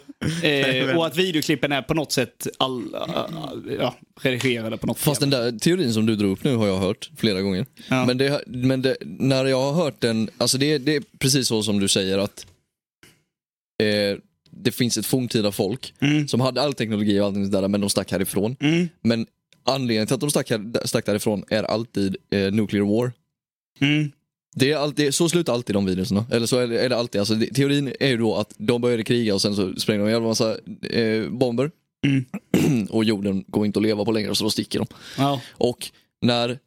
[SPEAKER 1] Eh, och att videoklippen är på något sätt all, eh, ja, redigerade på något
[SPEAKER 3] Fast den där teorin som du drog upp nu har jag hört flera gånger.
[SPEAKER 1] Ja.
[SPEAKER 3] Men, det, men det, när jag har hört den, alltså det, det är precis så som du säger att eh, det finns ett forntida folk
[SPEAKER 1] Mm.
[SPEAKER 3] som hade all teknologi och allting sådär men de stack härifrån. Men anledningen till att de stack, här, stack därifrån är alltid eh, nuclear war.
[SPEAKER 1] Mm.
[SPEAKER 3] Det är alltid, så slutar alltid de videorna. Eller så är det, är det alltid. Alltså, det, teorin är ju då att de började kriga och sen så sprängde de en jävla massa eh, bomber. [clears throat] och jorden går inte att leva på längre så då sticker de.
[SPEAKER 1] Ja.
[SPEAKER 3] Och när,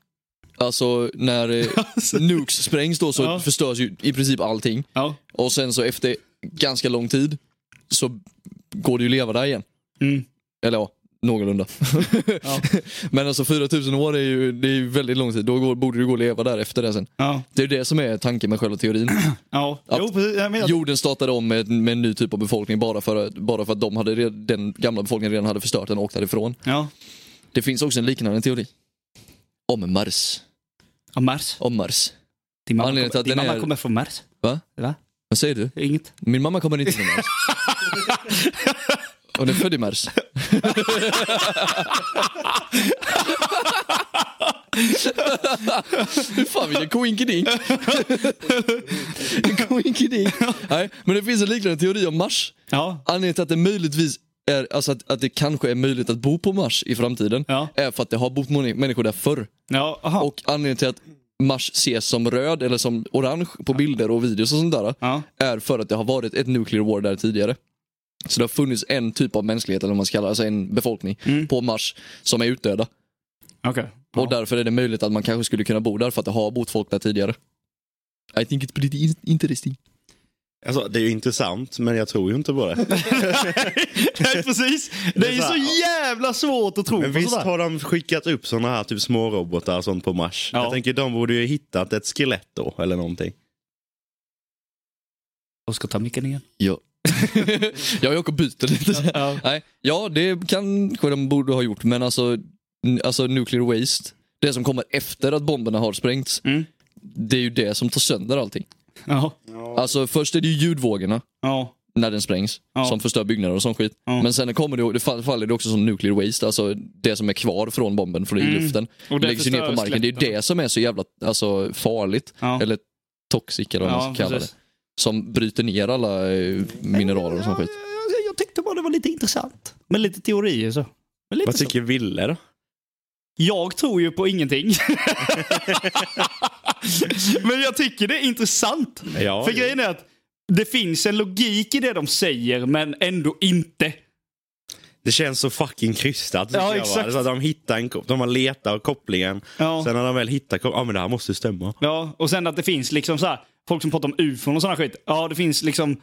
[SPEAKER 3] alltså, när eh, nukes sprängs då så
[SPEAKER 1] Ja.
[SPEAKER 3] förstörs ju i princip allting.
[SPEAKER 1] Ja.
[SPEAKER 3] Och sen så efter ganska lång tid så går det ju att leva där igen.
[SPEAKER 1] Mm.
[SPEAKER 3] Eller ja, någorlunda.
[SPEAKER 1] Ja.
[SPEAKER 3] [laughs] Men alltså 4000 år är ju, det är ju väldigt lång tid. Då går, borde det gå att leva där efter det sen.
[SPEAKER 1] Ja.
[SPEAKER 3] Det är det som är tanken med själva teorin.
[SPEAKER 1] Ja,
[SPEAKER 3] Att-
[SPEAKER 1] jo, precis. Jag menar,
[SPEAKER 3] Jorden startade om med, med en ny typ av befolkning bara för, att- bara för att de hade, red- den gamla befolkningen redan hade förstört den och åkt därifrån.
[SPEAKER 1] Ja.
[SPEAKER 3] Det finns också en liknande teori. Om Mars.
[SPEAKER 1] ja, Mars.
[SPEAKER 3] Om Mars.
[SPEAKER 1] Din mamma, kommer,
[SPEAKER 3] Anledningen till att
[SPEAKER 1] din
[SPEAKER 3] den
[SPEAKER 1] mamma
[SPEAKER 3] är-
[SPEAKER 1] kommer från Mars.
[SPEAKER 3] Va?
[SPEAKER 1] Va?
[SPEAKER 3] Vad säger du?
[SPEAKER 1] Inget.
[SPEAKER 3] Min mamma kommer inte från Mars. Hon är född i Mars. Hur fan vilken koinkedink. En koinkedink. Nej, men det finns en liknande teori om Mars.
[SPEAKER 1] Ja.
[SPEAKER 3] Anledningen till att det möjligtvis är, alltså att, att det kanske är möjligt att bo på Mars i framtiden
[SPEAKER 1] Ja.
[SPEAKER 3] är för att det har bott många människor där förr.
[SPEAKER 1] Ja, aha.
[SPEAKER 3] Och anledningen till att Mars ses som röd eller som orange på bilder och videos och sånt där
[SPEAKER 1] Ja.
[SPEAKER 3] är för att det har varit ett nuclear war där tidigare. Så det har funnits en typ av mänsklighet, eller vad man ska kalla det, alltså en befolkning
[SPEAKER 1] Mm.
[SPEAKER 3] på Mars som är utdöda.
[SPEAKER 1] Okej.
[SPEAKER 3] Och därför är det möjligt att man kanske skulle kunna bo där för att det har bott folk där tidigare. I think it's pretty in- interesting.
[SPEAKER 2] Alltså, det är ju intressant, men jag tror ju inte på det. [laughs]
[SPEAKER 3] [laughs]
[SPEAKER 1] Nej, precis. Det är ju
[SPEAKER 2] Det är så
[SPEAKER 1] så
[SPEAKER 2] här-
[SPEAKER 1] jävla svårt att tro
[SPEAKER 2] Men
[SPEAKER 1] på
[SPEAKER 2] visst
[SPEAKER 1] sådär.
[SPEAKER 2] har de skickat upp såna här typ smårobotar och sånt på Mars?
[SPEAKER 1] Ja.
[SPEAKER 2] Jag tänker de borde ju hittat ett skelett då, eller någonting.
[SPEAKER 1] Oskar, ta micken igen.
[SPEAKER 3] [laughs] Ja. jag och Jakob byter lite. så här.
[SPEAKER 1] Ja.
[SPEAKER 3] Nej, ja, det kanske de borde ha gjort, men alltså, n- alltså nuclear waste, det som kommer efter att bomberna har sprängts,
[SPEAKER 1] Mm.
[SPEAKER 3] det är ju det som tar sönder allting.
[SPEAKER 1] Ja.
[SPEAKER 3] Alltså först är det ju ljudvågorna
[SPEAKER 1] Ja.
[SPEAKER 3] när den sprängs
[SPEAKER 1] Ja.
[SPEAKER 3] som förstör byggnader och sån skit.
[SPEAKER 1] Ja.
[SPEAKER 3] Men sen kommer det, det fall- faller det också som nuclear waste, alltså det som är kvar från bomben från i luften.
[SPEAKER 1] Mm. Och det
[SPEAKER 3] det läggs ju ner på
[SPEAKER 1] förstör
[SPEAKER 3] marken. Det är ju
[SPEAKER 1] släkten.
[SPEAKER 3] det som är så jävla alltså, farligt,
[SPEAKER 1] Ja.
[SPEAKER 3] eller toxic eller vad man ska kalla det.
[SPEAKER 1] precis.
[SPEAKER 3] Som bryter ner alla eh, mineraler och sån skit.
[SPEAKER 1] Ja, jag- Jag tyckte bara det var lite intressant. Med lite teorier så. Men lite
[SPEAKER 2] Vad tycker Ville då?
[SPEAKER 1] Jag tror ju på
[SPEAKER 3] [laughs]
[SPEAKER 1] ingenting. Men jag tycker det är intressant.
[SPEAKER 2] Ja,
[SPEAKER 1] För
[SPEAKER 2] det-
[SPEAKER 1] grejen är att det finns en logik i det de säger, men ändå inte.
[SPEAKER 2] Det känns så fucking krystat. tycker
[SPEAKER 1] Ja,
[SPEAKER 2] jag, va?
[SPEAKER 1] exakt.
[SPEAKER 2] Det är Så att de hittar en kop- de har letat kopplingen.
[SPEAKER 1] Ja.
[SPEAKER 2] Sen när de väl hittar kopplingen, ja men det här måste stämma.
[SPEAKER 1] Ja, och sen att det finns liksom så här, folk som pratar om ufon och sådana skit. Ja, det finns liksom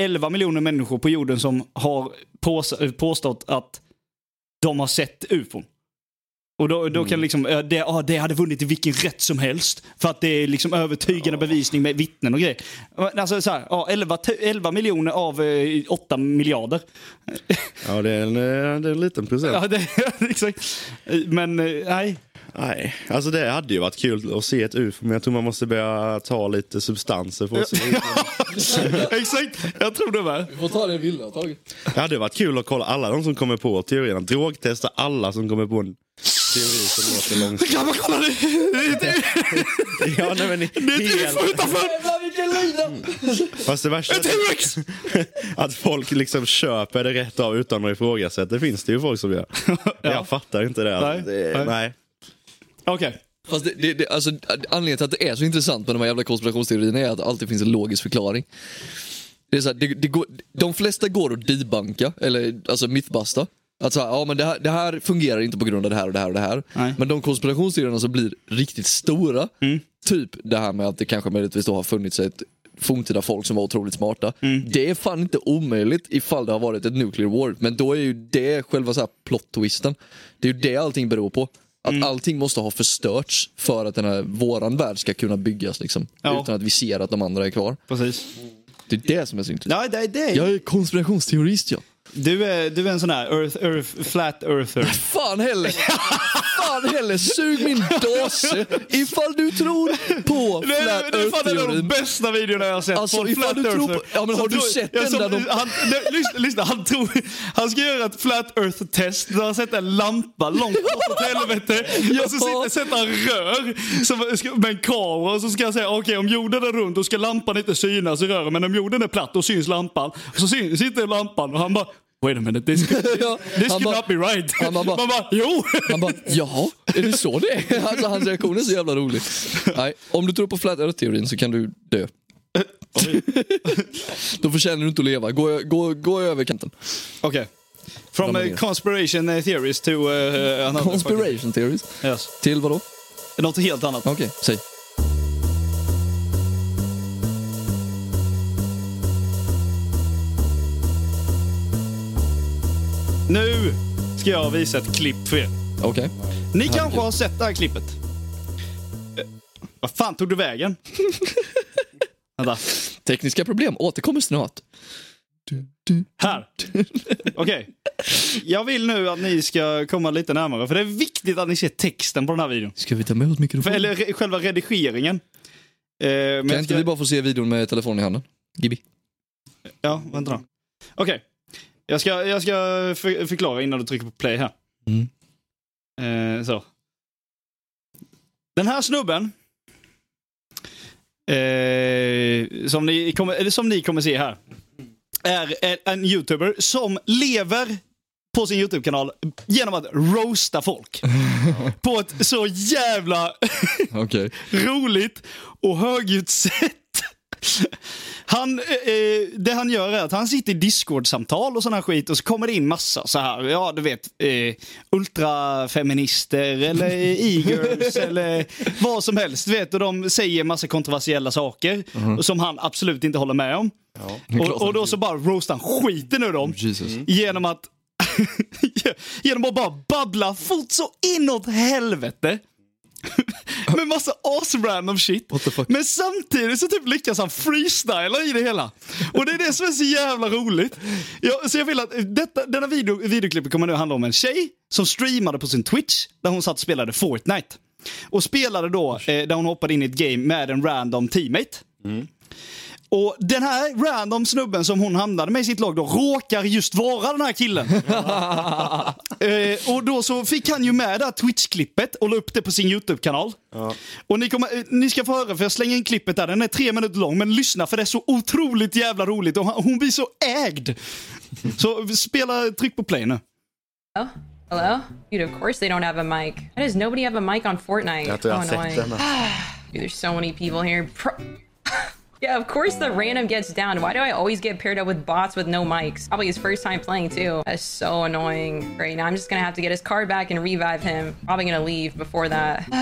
[SPEAKER 1] 11 miljoner människor på jorden som har pås- eh, påstått att de har sett ufon. Och då, då kan liksom, eh, det, ja, det hade vunnit i vilken rätt som helst. För att det är liksom övertygande bevisning med vittnen och grejer. Men Alltså så här, ja, 11, tu- 11 miljoner av eh, 8 miljarder.
[SPEAKER 2] Ja, det är en, eh, det är en liten procent.
[SPEAKER 1] Ja, det, [laughs] exakt. Men eh, nej,
[SPEAKER 2] Nej, alltså det hade ju varit kul att se ett UFO, men jag tror man måste börja ta lite substanser för att
[SPEAKER 1] [laughs]
[SPEAKER 2] se ut.
[SPEAKER 1] exakt. Jag tror det med.
[SPEAKER 3] Du får ta det vilda taget.
[SPEAKER 2] Det hade varit kul att kolla alla de som kommer på teorierna. Drogtesta alla som kommer på en teori som låter långt.
[SPEAKER 1] Grabbar, kolla nu!
[SPEAKER 2] [laughs] Ja, nej, men helt.
[SPEAKER 1] utanför!
[SPEAKER 3] Jävlar vilken lina!
[SPEAKER 2] Fast det värsta är
[SPEAKER 1] T-Rex!
[SPEAKER 2] [laughs] att folk liksom köper det rätt av utan att ifrågasätta. Det finns det ju
[SPEAKER 1] [laughs]
[SPEAKER 2] folk som gör. Jag fattar inte det.
[SPEAKER 1] Nej, nej.
[SPEAKER 2] det nej.
[SPEAKER 1] Okej.
[SPEAKER 3] Fast det, det, det, alltså, anledningen till att det är så intressant med de här jävla konspirationsteorierna är att det alltid finns en logisk förklaring. Det är så här, det, det går, de flesta går att debanka, eller alltså mythbasta. Att så här, ja men det här, det här fungerar inte på grund av det här och det här och det här.
[SPEAKER 1] Nej. Mm.
[SPEAKER 3] Men de konspirationsteorierna som blir riktigt stora, typ det här med att det kanske möjligtvis då har funnits ett forntida folk som var otroligt smarta.
[SPEAKER 1] Mm.
[SPEAKER 3] Det är fan inte omöjligt ifall det har varit ett nuclear war. Men då är ju det själva så här plot twisten. Det är ju det allting beror på. Att
[SPEAKER 1] Mm.
[SPEAKER 3] allting måste ha förstörts för att den här, våran värld ska kunna byggas liksom.
[SPEAKER 1] Ja.
[SPEAKER 3] Utan att vi ser att de andra är kvar.
[SPEAKER 1] Precis.
[SPEAKER 3] Det är det som är så intressant.
[SPEAKER 1] Nej, det, det är...
[SPEAKER 3] Jag är konspirationsteorist jag.
[SPEAKER 1] Du, är, du är en sån här earth, earth, flat [laughs] earther.
[SPEAKER 3] Fan heller! Fan heller, sug min dase ifall du tror på
[SPEAKER 1] Det är,
[SPEAKER 3] flat
[SPEAKER 1] det är fan en av de
[SPEAKER 3] earth-teorin.
[SPEAKER 1] bästa videorna jag har sett
[SPEAKER 3] Alltså,
[SPEAKER 1] på en
[SPEAKER 3] ifall
[SPEAKER 1] flat
[SPEAKER 3] du tror på-
[SPEAKER 1] earther.
[SPEAKER 3] Ja, men har
[SPEAKER 1] Som
[SPEAKER 3] du
[SPEAKER 1] tror-
[SPEAKER 3] sett
[SPEAKER 1] ja,
[SPEAKER 3] den
[SPEAKER 1] som-
[SPEAKER 3] där de-
[SPEAKER 1] han, nej, lyssna, lyssna, han tror... Han ska göra ett flat earth-test där han sätter en lampa långt bort åt
[SPEAKER 3] [laughs]
[SPEAKER 1] helvete. Och så sitter, sätter han rör som, ska- med en kamera och så ska han säga okej om jorden är rund då ska lampan inte synas i röret men om jorden är platt då syns lampan. Och så syn, sitter lampan och han bara Wait a minute, this could,
[SPEAKER 3] [laughs] Ja,
[SPEAKER 1] this
[SPEAKER 3] han
[SPEAKER 1] could
[SPEAKER 3] bara-
[SPEAKER 1] not be right.
[SPEAKER 3] han bara-
[SPEAKER 1] Man bara, jo!
[SPEAKER 3] Han bara, jaha, är det så det är? Alltså hans reaktion är så jävla rolig. Nej, om du tror på flat earth-teorin så kan du dö. Då förtjänar du inte att leva. Gå, gå, gå över kanten.
[SPEAKER 1] Okej. From
[SPEAKER 3] Ramla
[SPEAKER 1] uh,
[SPEAKER 3] ner.
[SPEAKER 1] conspiration uh, theories to... Uh, uh, another fucking-
[SPEAKER 3] Conspiration theories.
[SPEAKER 1] Yes.
[SPEAKER 3] Till vadå?
[SPEAKER 1] Något helt annat.
[SPEAKER 3] Okej, säg.
[SPEAKER 1] Nu ska jag visa ett klipp för er.
[SPEAKER 3] Okej.
[SPEAKER 1] Ni kanske har sett det här klippet. Eh, Vad fan tog du
[SPEAKER 3] [laughs]
[SPEAKER 1] vägen? Vänta.
[SPEAKER 3] Tekniska problem återkommer snart. Du, du.
[SPEAKER 1] Här. Okej. Jag vill nu att ni ska komma lite närmare, för det är viktigt att ni ser texten på den här videon.
[SPEAKER 3] Ska vi ta med oss
[SPEAKER 1] För,
[SPEAKER 3] mikrofonen?
[SPEAKER 1] eller re- själva redigeringen. Eh, men
[SPEAKER 3] Kan
[SPEAKER 1] jag
[SPEAKER 3] inte
[SPEAKER 1] ska-
[SPEAKER 3] vi bara få se videon med telefonen i handen? Gibi.
[SPEAKER 1] Ja, vänta då. Okej. Jag ska, jag ska för, förklara innan du trycker på play här. Eh, så. Den här snubben. Eh, som, ni kommer, eller som ni kommer se här. Är en, en youtuber som lever på sin YouTube-kanal genom att roasta folk. på ett så jävla
[SPEAKER 3] [laughs] Okej.
[SPEAKER 1] roligt och högljutt sätt. [laughs] Han, eh, eh, det han gör är att han sitter i Discord-samtal och sån här skit och så kommer det in massa så här, ja du vet, eh, ultrafeminister eller e-girls eller vad som helst. du Vet, och de säger massa kontroversiella saker som han absolut inte håller med om. Och, och då så bara roastar han skiten ur dem
[SPEAKER 3] Jesus.
[SPEAKER 1] genom att [laughs] genom att bara babbla fort så inåt helvete. [laughs] Med massa as-random shit.
[SPEAKER 3] What the fuck?
[SPEAKER 1] Men samtidigt så typ lyckas han freestyla i det hela. Och det är det som är så jävla roligt. Ja, så jag vill att detta, denna video, videoklippet kommer nu handla om en tjej som streamade på sin Twitch där hon satt och spelade Fortnite. Och spelade då eh, där hon hoppade in i ett game med en random teammate. Och den här random snubben som hon hamnade med i sitt lag då råkar just vara den här killen. eh, och då så fick han ju med det här Twitch-klippet och la upp det på sin YouTube-kanal. Och ni, kommer, eh, ni ska få höra, för jag slänger in klippet där. Den är tre minuter lång, men lyssna för det är så otroligt jävla roligt och han- hon blir så ägd. Så spela, tryck på play nu.
[SPEAKER 6] Hello? Dude, of course they don't have a mic. Why does nobody have a mic on Fortnite?
[SPEAKER 2] Jag tror jag har
[SPEAKER 6] How
[SPEAKER 2] sett den.
[SPEAKER 6] annoying.
[SPEAKER 2] här.
[SPEAKER 6] [sighs] Dude, there's so many people here. Pro- [laughs] yeah, of course the random gets down. Why do I always get paired up with bots with no mics? Probably his first time playing too. That's so annoying. Right now, I'm just gonna have to get his card back and revive him. Probably gonna leave before that. [sighs]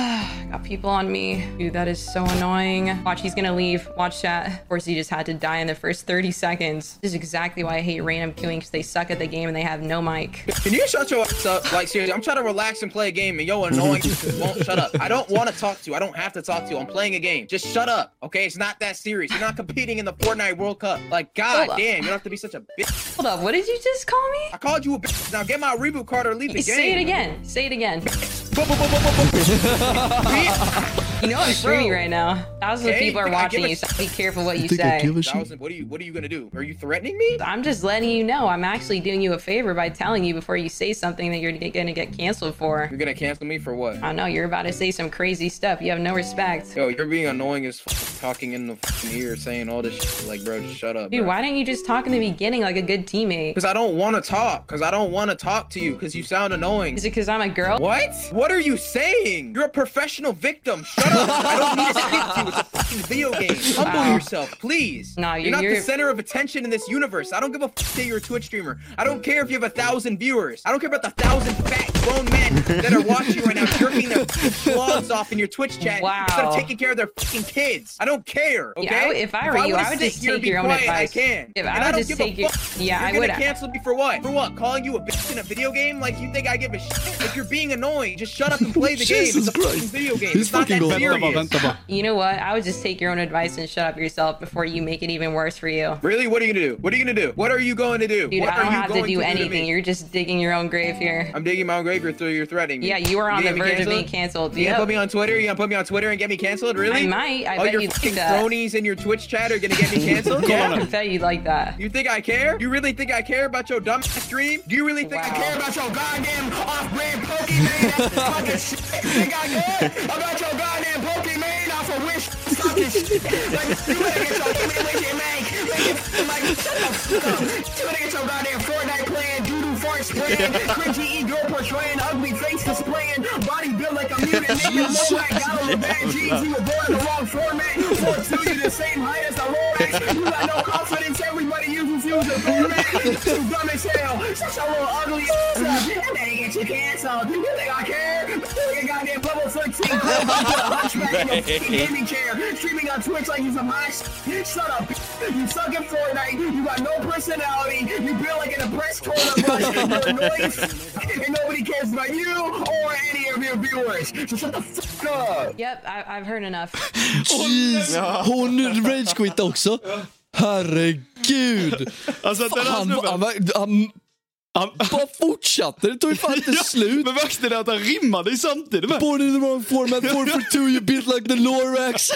[SPEAKER 6] Got people on me. Dude, that is so annoying. Watch, he's gonna leave. Watch chat. Of course, he just had to die in the first 30 seconds. This is exactly why I hate random queuing because they suck at the game and they have no mic.
[SPEAKER 7] Can you shut your ass up? Like seriously, I'm trying to relax and play a game, and yo annoying won't shut up. I don't want to talk to you. I don't have to talk to you. I'm playing a game. Just shut up, okay? It's not that serious. You're not competing in the Fortnite World Cup. Like, god
[SPEAKER 6] Hold up.
[SPEAKER 7] damn, you don't have to be such a bitch.
[SPEAKER 6] Hold up, what did you just call me?
[SPEAKER 7] I called you a bitch. Now get my reboot card or leave the
[SPEAKER 6] Say it
[SPEAKER 7] game.
[SPEAKER 6] again. Say it again.
[SPEAKER 7] Boom, boom, boom, boom, boom, boom. Bitch.
[SPEAKER 6] [laughs] You know I'm streaming
[SPEAKER 7] Bro.
[SPEAKER 6] right now. Thousands of
[SPEAKER 7] Hey,
[SPEAKER 6] people are
[SPEAKER 7] I
[SPEAKER 6] watching
[SPEAKER 7] give a
[SPEAKER 6] you, so be careful what you
[SPEAKER 3] think I
[SPEAKER 6] say.
[SPEAKER 3] give a shit.
[SPEAKER 7] Thousand, what are you? What are you gonna do? Are you threatening me?
[SPEAKER 6] I'm just letting you know I'm actually doing you a favor by telling you before you say something that you're g- gonna get canceled for.
[SPEAKER 7] You're gonna cancel me for what?
[SPEAKER 6] I know you're about to say some crazy stuff. You have no respect.
[SPEAKER 7] Yo, you're being annoying as f- talking in the f- ear, saying all this shit. Like, bro, just shut up.
[SPEAKER 6] Dude,
[SPEAKER 7] bro.
[SPEAKER 6] why didn't you just talk in the beginning like a good teammate?
[SPEAKER 7] Because I don't want to talk. Because I don't want to talk to you. Because you sound annoying.
[SPEAKER 6] Is it because I'm a girl?
[SPEAKER 7] What? What are you saying? You're a professional victim. Shut up. I don't need to speak to you. It's a fucking video game. Humble
[SPEAKER 6] [laughs] Wow.
[SPEAKER 7] yourself, please.
[SPEAKER 6] Nah,
[SPEAKER 7] you're,
[SPEAKER 6] you-
[SPEAKER 7] not
[SPEAKER 6] you're-
[SPEAKER 7] the center of attention in this universe. I don't give a fuck that you're a Twitch streamer. I don't care if you have a thousand viewers. I don't care about the thousand fat grown men that are watching you
[SPEAKER 6] [laughs]
[SPEAKER 7] right now jerking their fucking claws off in your Twitch chat
[SPEAKER 6] Wow.
[SPEAKER 7] instead of taking care of their fucking kids. I don't care. Okay?
[SPEAKER 6] Yeah, I would- if I were you,
[SPEAKER 7] wanna
[SPEAKER 6] I would
[SPEAKER 7] sit
[SPEAKER 6] just
[SPEAKER 7] here
[SPEAKER 6] take
[SPEAKER 7] and be
[SPEAKER 6] your own
[SPEAKER 7] quiet,
[SPEAKER 6] advice.
[SPEAKER 7] I can.
[SPEAKER 6] If I
[SPEAKER 7] and
[SPEAKER 6] would
[SPEAKER 7] I don't
[SPEAKER 6] just
[SPEAKER 7] give a
[SPEAKER 6] take your-
[SPEAKER 7] fuck.
[SPEAKER 6] Yeah,
[SPEAKER 7] You're
[SPEAKER 6] I
[SPEAKER 7] gonna
[SPEAKER 6] would-
[SPEAKER 7] cancel me for what? For what? Calling you a bitch in a video game? Like you think I give a shit? Like you're being annoying. Just shut up and
[SPEAKER 3] [laughs]
[SPEAKER 7] play the game. It's
[SPEAKER 3] Jesus
[SPEAKER 7] a fucking
[SPEAKER 3] Christ.
[SPEAKER 7] video game.
[SPEAKER 3] He's
[SPEAKER 7] it's not
[SPEAKER 3] fucking
[SPEAKER 7] that
[SPEAKER 1] Vänta
[SPEAKER 3] going-
[SPEAKER 1] bara,
[SPEAKER 7] serious.
[SPEAKER 1] vänta bara.
[SPEAKER 6] You know what? I would just take your own advice and shut up yourself before you make it even worse for you.
[SPEAKER 7] Really? What are you gonna do? What are you gonna do? What are you going to do?
[SPEAKER 6] Dude,
[SPEAKER 7] what
[SPEAKER 6] I
[SPEAKER 7] are
[SPEAKER 6] don't
[SPEAKER 7] you
[SPEAKER 6] have to
[SPEAKER 7] going
[SPEAKER 6] do
[SPEAKER 7] me?
[SPEAKER 6] anything. You're just digging your own grave here.
[SPEAKER 7] I'm digging my own grave. You're through. You're threatening me.
[SPEAKER 6] Yeah, you were on the
[SPEAKER 7] gonna
[SPEAKER 6] verge
[SPEAKER 7] get me
[SPEAKER 6] of being
[SPEAKER 7] canceled?
[SPEAKER 6] canceled.
[SPEAKER 7] You gonna
[SPEAKER 6] Yep.
[SPEAKER 7] put me on Twitter? You gonna put me on Twitter and get me canceled? Really?
[SPEAKER 6] I might. I
[SPEAKER 7] All
[SPEAKER 6] bet
[SPEAKER 7] your
[SPEAKER 6] you'd
[SPEAKER 7] fucking
[SPEAKER 6] think that.
[SPEAKER 7] cronies in your Twitch chat are gonna get me canceled? yeah?
[SPEAKER 6] [laughs] I bet you like that.
[SPEAKER 7] You think I care? You really think I care about your dumb ass stream? Do you really think I
[SPEAKER 6] Wow.
[SPEAKER 7] care about your goddamn off-brand Pokemon? That's fucking shit. You think I care about your goddamn Pokemon off of wish fucking shit? Like, you better get your Pokemon with your man. Make it fucking like, shut the fuck up. You better get your goddamn Fortnite playing, doodoo fart spraying, cringy e-girl portraying, ugly face displaying, body built like a mutant nigga, look like out of the bad jeans. You were born in the wrong format. For two, you the same height as the Lorax. You got no confidence. Everybody uses you as a format. You dumb as hell. Shut your little ugly ass up. And then you get your canceled. You think I care? You goddamn bubble 13. Clip up with a hunchback in your fucking gaming chair. Streaming on Twitch like you some hot shit. Shut up. You suck at Fortnite. You got no personality. You build like an oppressed corner bunch. You're annoying as fuck, and nobody cares about you or any of your viewers. So shut the fuck up.
[SPEAKER 6] Yep, I, I've heard enough.
[SPEAKER 3] Jeez, hon ragequittade också. Herregud!
[SPEAKER 1] Alltså den här
[SPEAKER 3] Han, han,
[SPEAKER 1] snubben.
[SPEAKER 3] var- han
[SPEAKER 1] Han,
[SPEAKER 3] bara fortsatte, det tog ju fan inte slut.
[SPEAKER 1] men värsta är att han rimmade samtidigt. med.
[SPEAKER 3] Born in the wrong format, born for two, you built like
[SPEAKER 1] [laughs]
[SPEAKER 3] the Lorax.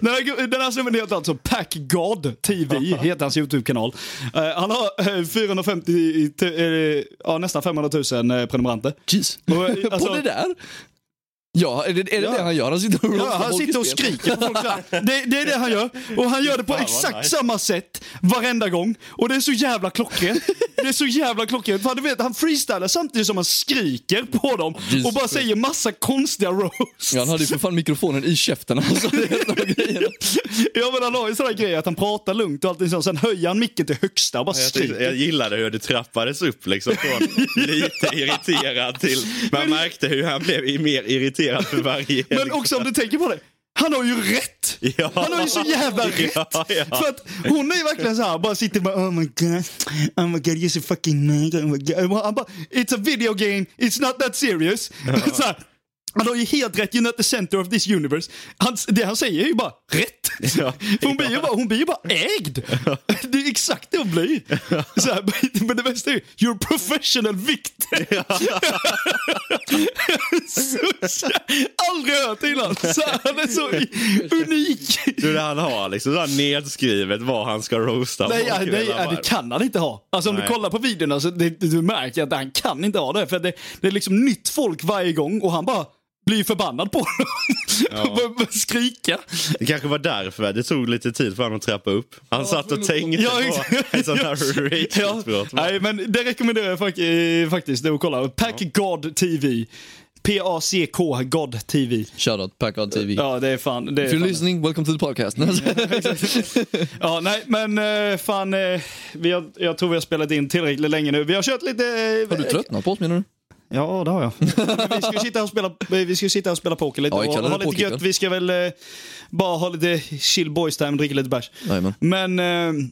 [SPEAKER 1] Den här, gu- den här snubben heter alltså Pack God TV, heter hans YouTube-kanal. Eh, han har eh, 450, tu- eh, ja nästan 500 000 eh, prenumeranter.
[SPEAKER 3] Jeez.
[SPEAKER 1] Och, eh, alltså-
[SPEAKER 3] På det där? Ja, är det är det, det han gör? Han sitter och,
[SPEAKER 1] Ja, han sitter och skriker på folk så här. det, det är det han gör. Och han gör det på
[SPEAKER 5] vad
[SPEAKER 1] exakt
[SPEAKER 5] nice.
[SPEAKER 1] samma sätt varenda gång. Och det är så jävla klockrent. Det är så jävla klockrent. För du vet, han freestylar samtidigt som han skriker på dem
[SPEAKER 3] Jesus
[SPEAKER 1] och bara
[SPEAKER 3] Christ.
[SPEAKER 1] säger massa konstiga roasts.
[SPEAKER 3] Ja, han hade ju för fan mikrofonen i käften.
[SPEAKER 1] [laughs]
[SPEAKER 3] Alltså, Det är en av grejerna.
[SPEAKER 1] Ja men han har ju sådana grejer att han pratar lugnt och allting sånt. Sen höjer han micken till högsta och bara
[SPEAKER 2] Jag, tyckte, jag
[SPEAKER 1] skriker.
[SPEAKER 2] gillade hur det trappades upp liksom från
[SPEAKER 1] [laughs]
[SPEAKER 2] lite irriterad till... Man märkte hur han blev mer irriterad för varje...
[SPEAKER 1] Men också om du tänker på det. Han har ju rätt!
[SPEAKER 2] Ja.
[SPEAKER 1] Han har ju så jävla rätt!
[SPEAKER 2] [laughs] Ja, ja.
[SPEAKER 1] För att hon är ju verkligen så här, bara sitter bara oh my god, oh my god, you're so fucking mad, oh my god. Och Han bara, it's a video game, it's not that serious. [laughs] Så här, han har ju helt rätt, you're not the center of this universe. Han, det han säger är ju bara rätt. För [laughs] hon, blir ju bara, hon blir ju bara ägd. Det är exakt det hon blir. Så här, men det bästa är ju, you're a professional victim. [laughs] Så- Aldrig hört innan. Så här, han är så unik.
[SPEAKER 2] Du, det han har liksom så här nedskrivet vad han ska roasta.
[SPEAKER 1] Nej,
[SPEAKER 2] folk
[SPEAKER 1] ja,
[SPEAKER 2] i
[SPEAKER 1] nej
[SPEAKER 2] hela
[SPEAKER 1] ja, det
[SPEAKER 2] världen.
[SPEAKER 1] kan han inte ha. Alltså om
[SPEAKER 2] Nej.
[SPEAKER 1] du kollar på videorna så det, du märker att han kan inte ha det. För det, det är liksom nytt folk varje gång och han bara bli förbannad på dem. [laughs] Börja Skrika.
[SPEAKER 2] Det kanske var därför det tog lite tid för honom att trappa upp. Han satt och tänkte
[SPEAKER 1] Ja,
[SPEAKER 2] på
[SPEAKER 1] exakt.
[SPEAKER 2] ett sånt här
[SPEAKER 1] Ja.
[SPEAKER 2] rage-utbrott.
[SPEAKER 1] Nej, men det rekommenderar jag fak- eh, faktiskt. Det är att kolla. Pack God TV. P-A-C-K God TV.
[SPEAKER 3] Shoutout Packard TV.
[SPEAKER 1] Ja, det är fan. Det är
[SPEAKER 3] If you're
[SPEAKER 1] fan.
[SPEAKER 3] listening, welcome to the podcast.
[SPEAKER 1] [laughs] Ja, nej, men eh, fan. eh, Vi har, jag tror vi har spelat in tillräckligt länge nu. Vi har kört lite... eh,
[SPEAKER 3] Har du tröttnat på oss menar du?
[SPEAKER 1] Ja, det har jag. [laughs] vi ska ju sitta här och spela, vi ska ju sitta här och spela poker lite.
[SPEAKER 3] Ja, ikväll
[SPEAKER 1] och
[SPEAKER 3] är det
[SPEAKER 1] ha lite
[SPEAKER 3] pokerkväll.
[SPEAKER 1] gött. Vi ska väl eh, bara ha lite chill boys time, dricka lite bärs.
[SPEAKER 3] Jajamän.
[SPEAKER 1] Men, eh,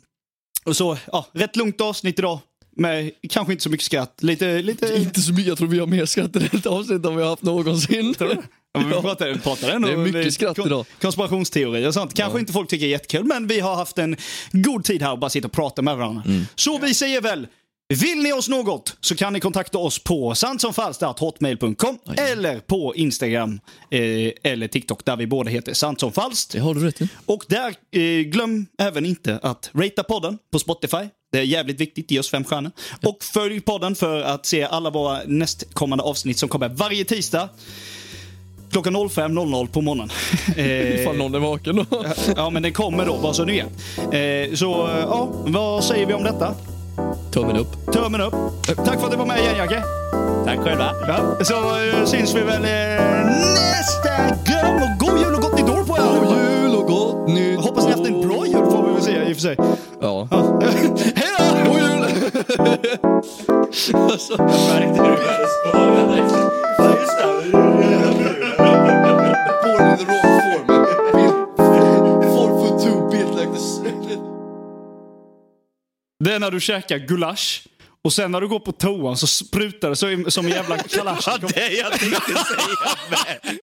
[SPEAKER 1] och så, ja, rätt lugnt avsnitt idag. Med kanske inte så mycket skratt. Lite, lite...
[SPEAKER 3] Inte så mycket, jag tror vi har mer skratt i detta avsnitt än vi har haft någonsin.
[SPEAKER 1] Ja, men vi pratar, pratar ändå
[SPEAKER 3] Det är
[SPEAKER 1] om
[SPEAKER 3] mycket
[SPEAKER 1] lite
[SPEAKER 3] skratt idag.
[SPEAKER 1] Konspirationsteorier och sånt. Kanske inte folk tycker är jättekul, men vi har haft en god tid här och bara sitta och prata med varandra.
[SPEAKER 3] Mm.
[SPEAKER 1] Så vi säger väl, vill ni oss något så kan ni kontakta oss på santsomfalskt.hotmail.com eller på Instagram eh, eller TikTok där vi båda heter Sant som Falskt.
[SPEAKER 3] Det har du rätt i.
[SPEAKER 1] Och där, eh, glöm även inte att ratea podden på Spotify. Det är jävligt viktigt, ge oss fem stjärnor. Och följ podden för att se alla våra nästkommande avsnitt som kommer varje tisdag. Klockan 05.00 på
[SPEAKER 5] [laughs]
[SPEAKER 1] morgonen. Eh,
[SPEAKER 3] Ifall någon är vaken då.
[SPEAKER 1] ja, men den kommer då, bara så ni vet. Eh, så, eh, ja, vad säger vi om detta?
[SPEAKER 3] Tummen upp.
[SPEAKER 1] Tummen upp. Tack för att du var med igen, Jacke.
[SPEAKER 5] Tack själva.
[SPEAKER 1] Ja, så eh, syns vi väl eh, nästa gång. Och god jul och gott nytt år på er
[SPEAKER 3] God
[SPEAKER 1] allihopa.
[SPEAKER 3] jul och gott nytt
[SPEAKER 1] Hoppas ni haft en bra jul får vi väl säga i och för sig.
[SPEAKER 3] [laughs] Ja.
[SPEAKER 1] Hej då!
[SPEAKER 3] God jul! [laughs] Alltså.
[SPEAKER 4] Märkte du hur jag sparade? Ja, just det.
[SPEAKER 3] Born in the wrong form. Four foot two built like this.
[SPEAKER 1] Det är när du käkar gulasch och sen när du går på toan så sprutar det så, som en jävla kalasch.
[SPEAKER 2] Det jag tänkte säga med.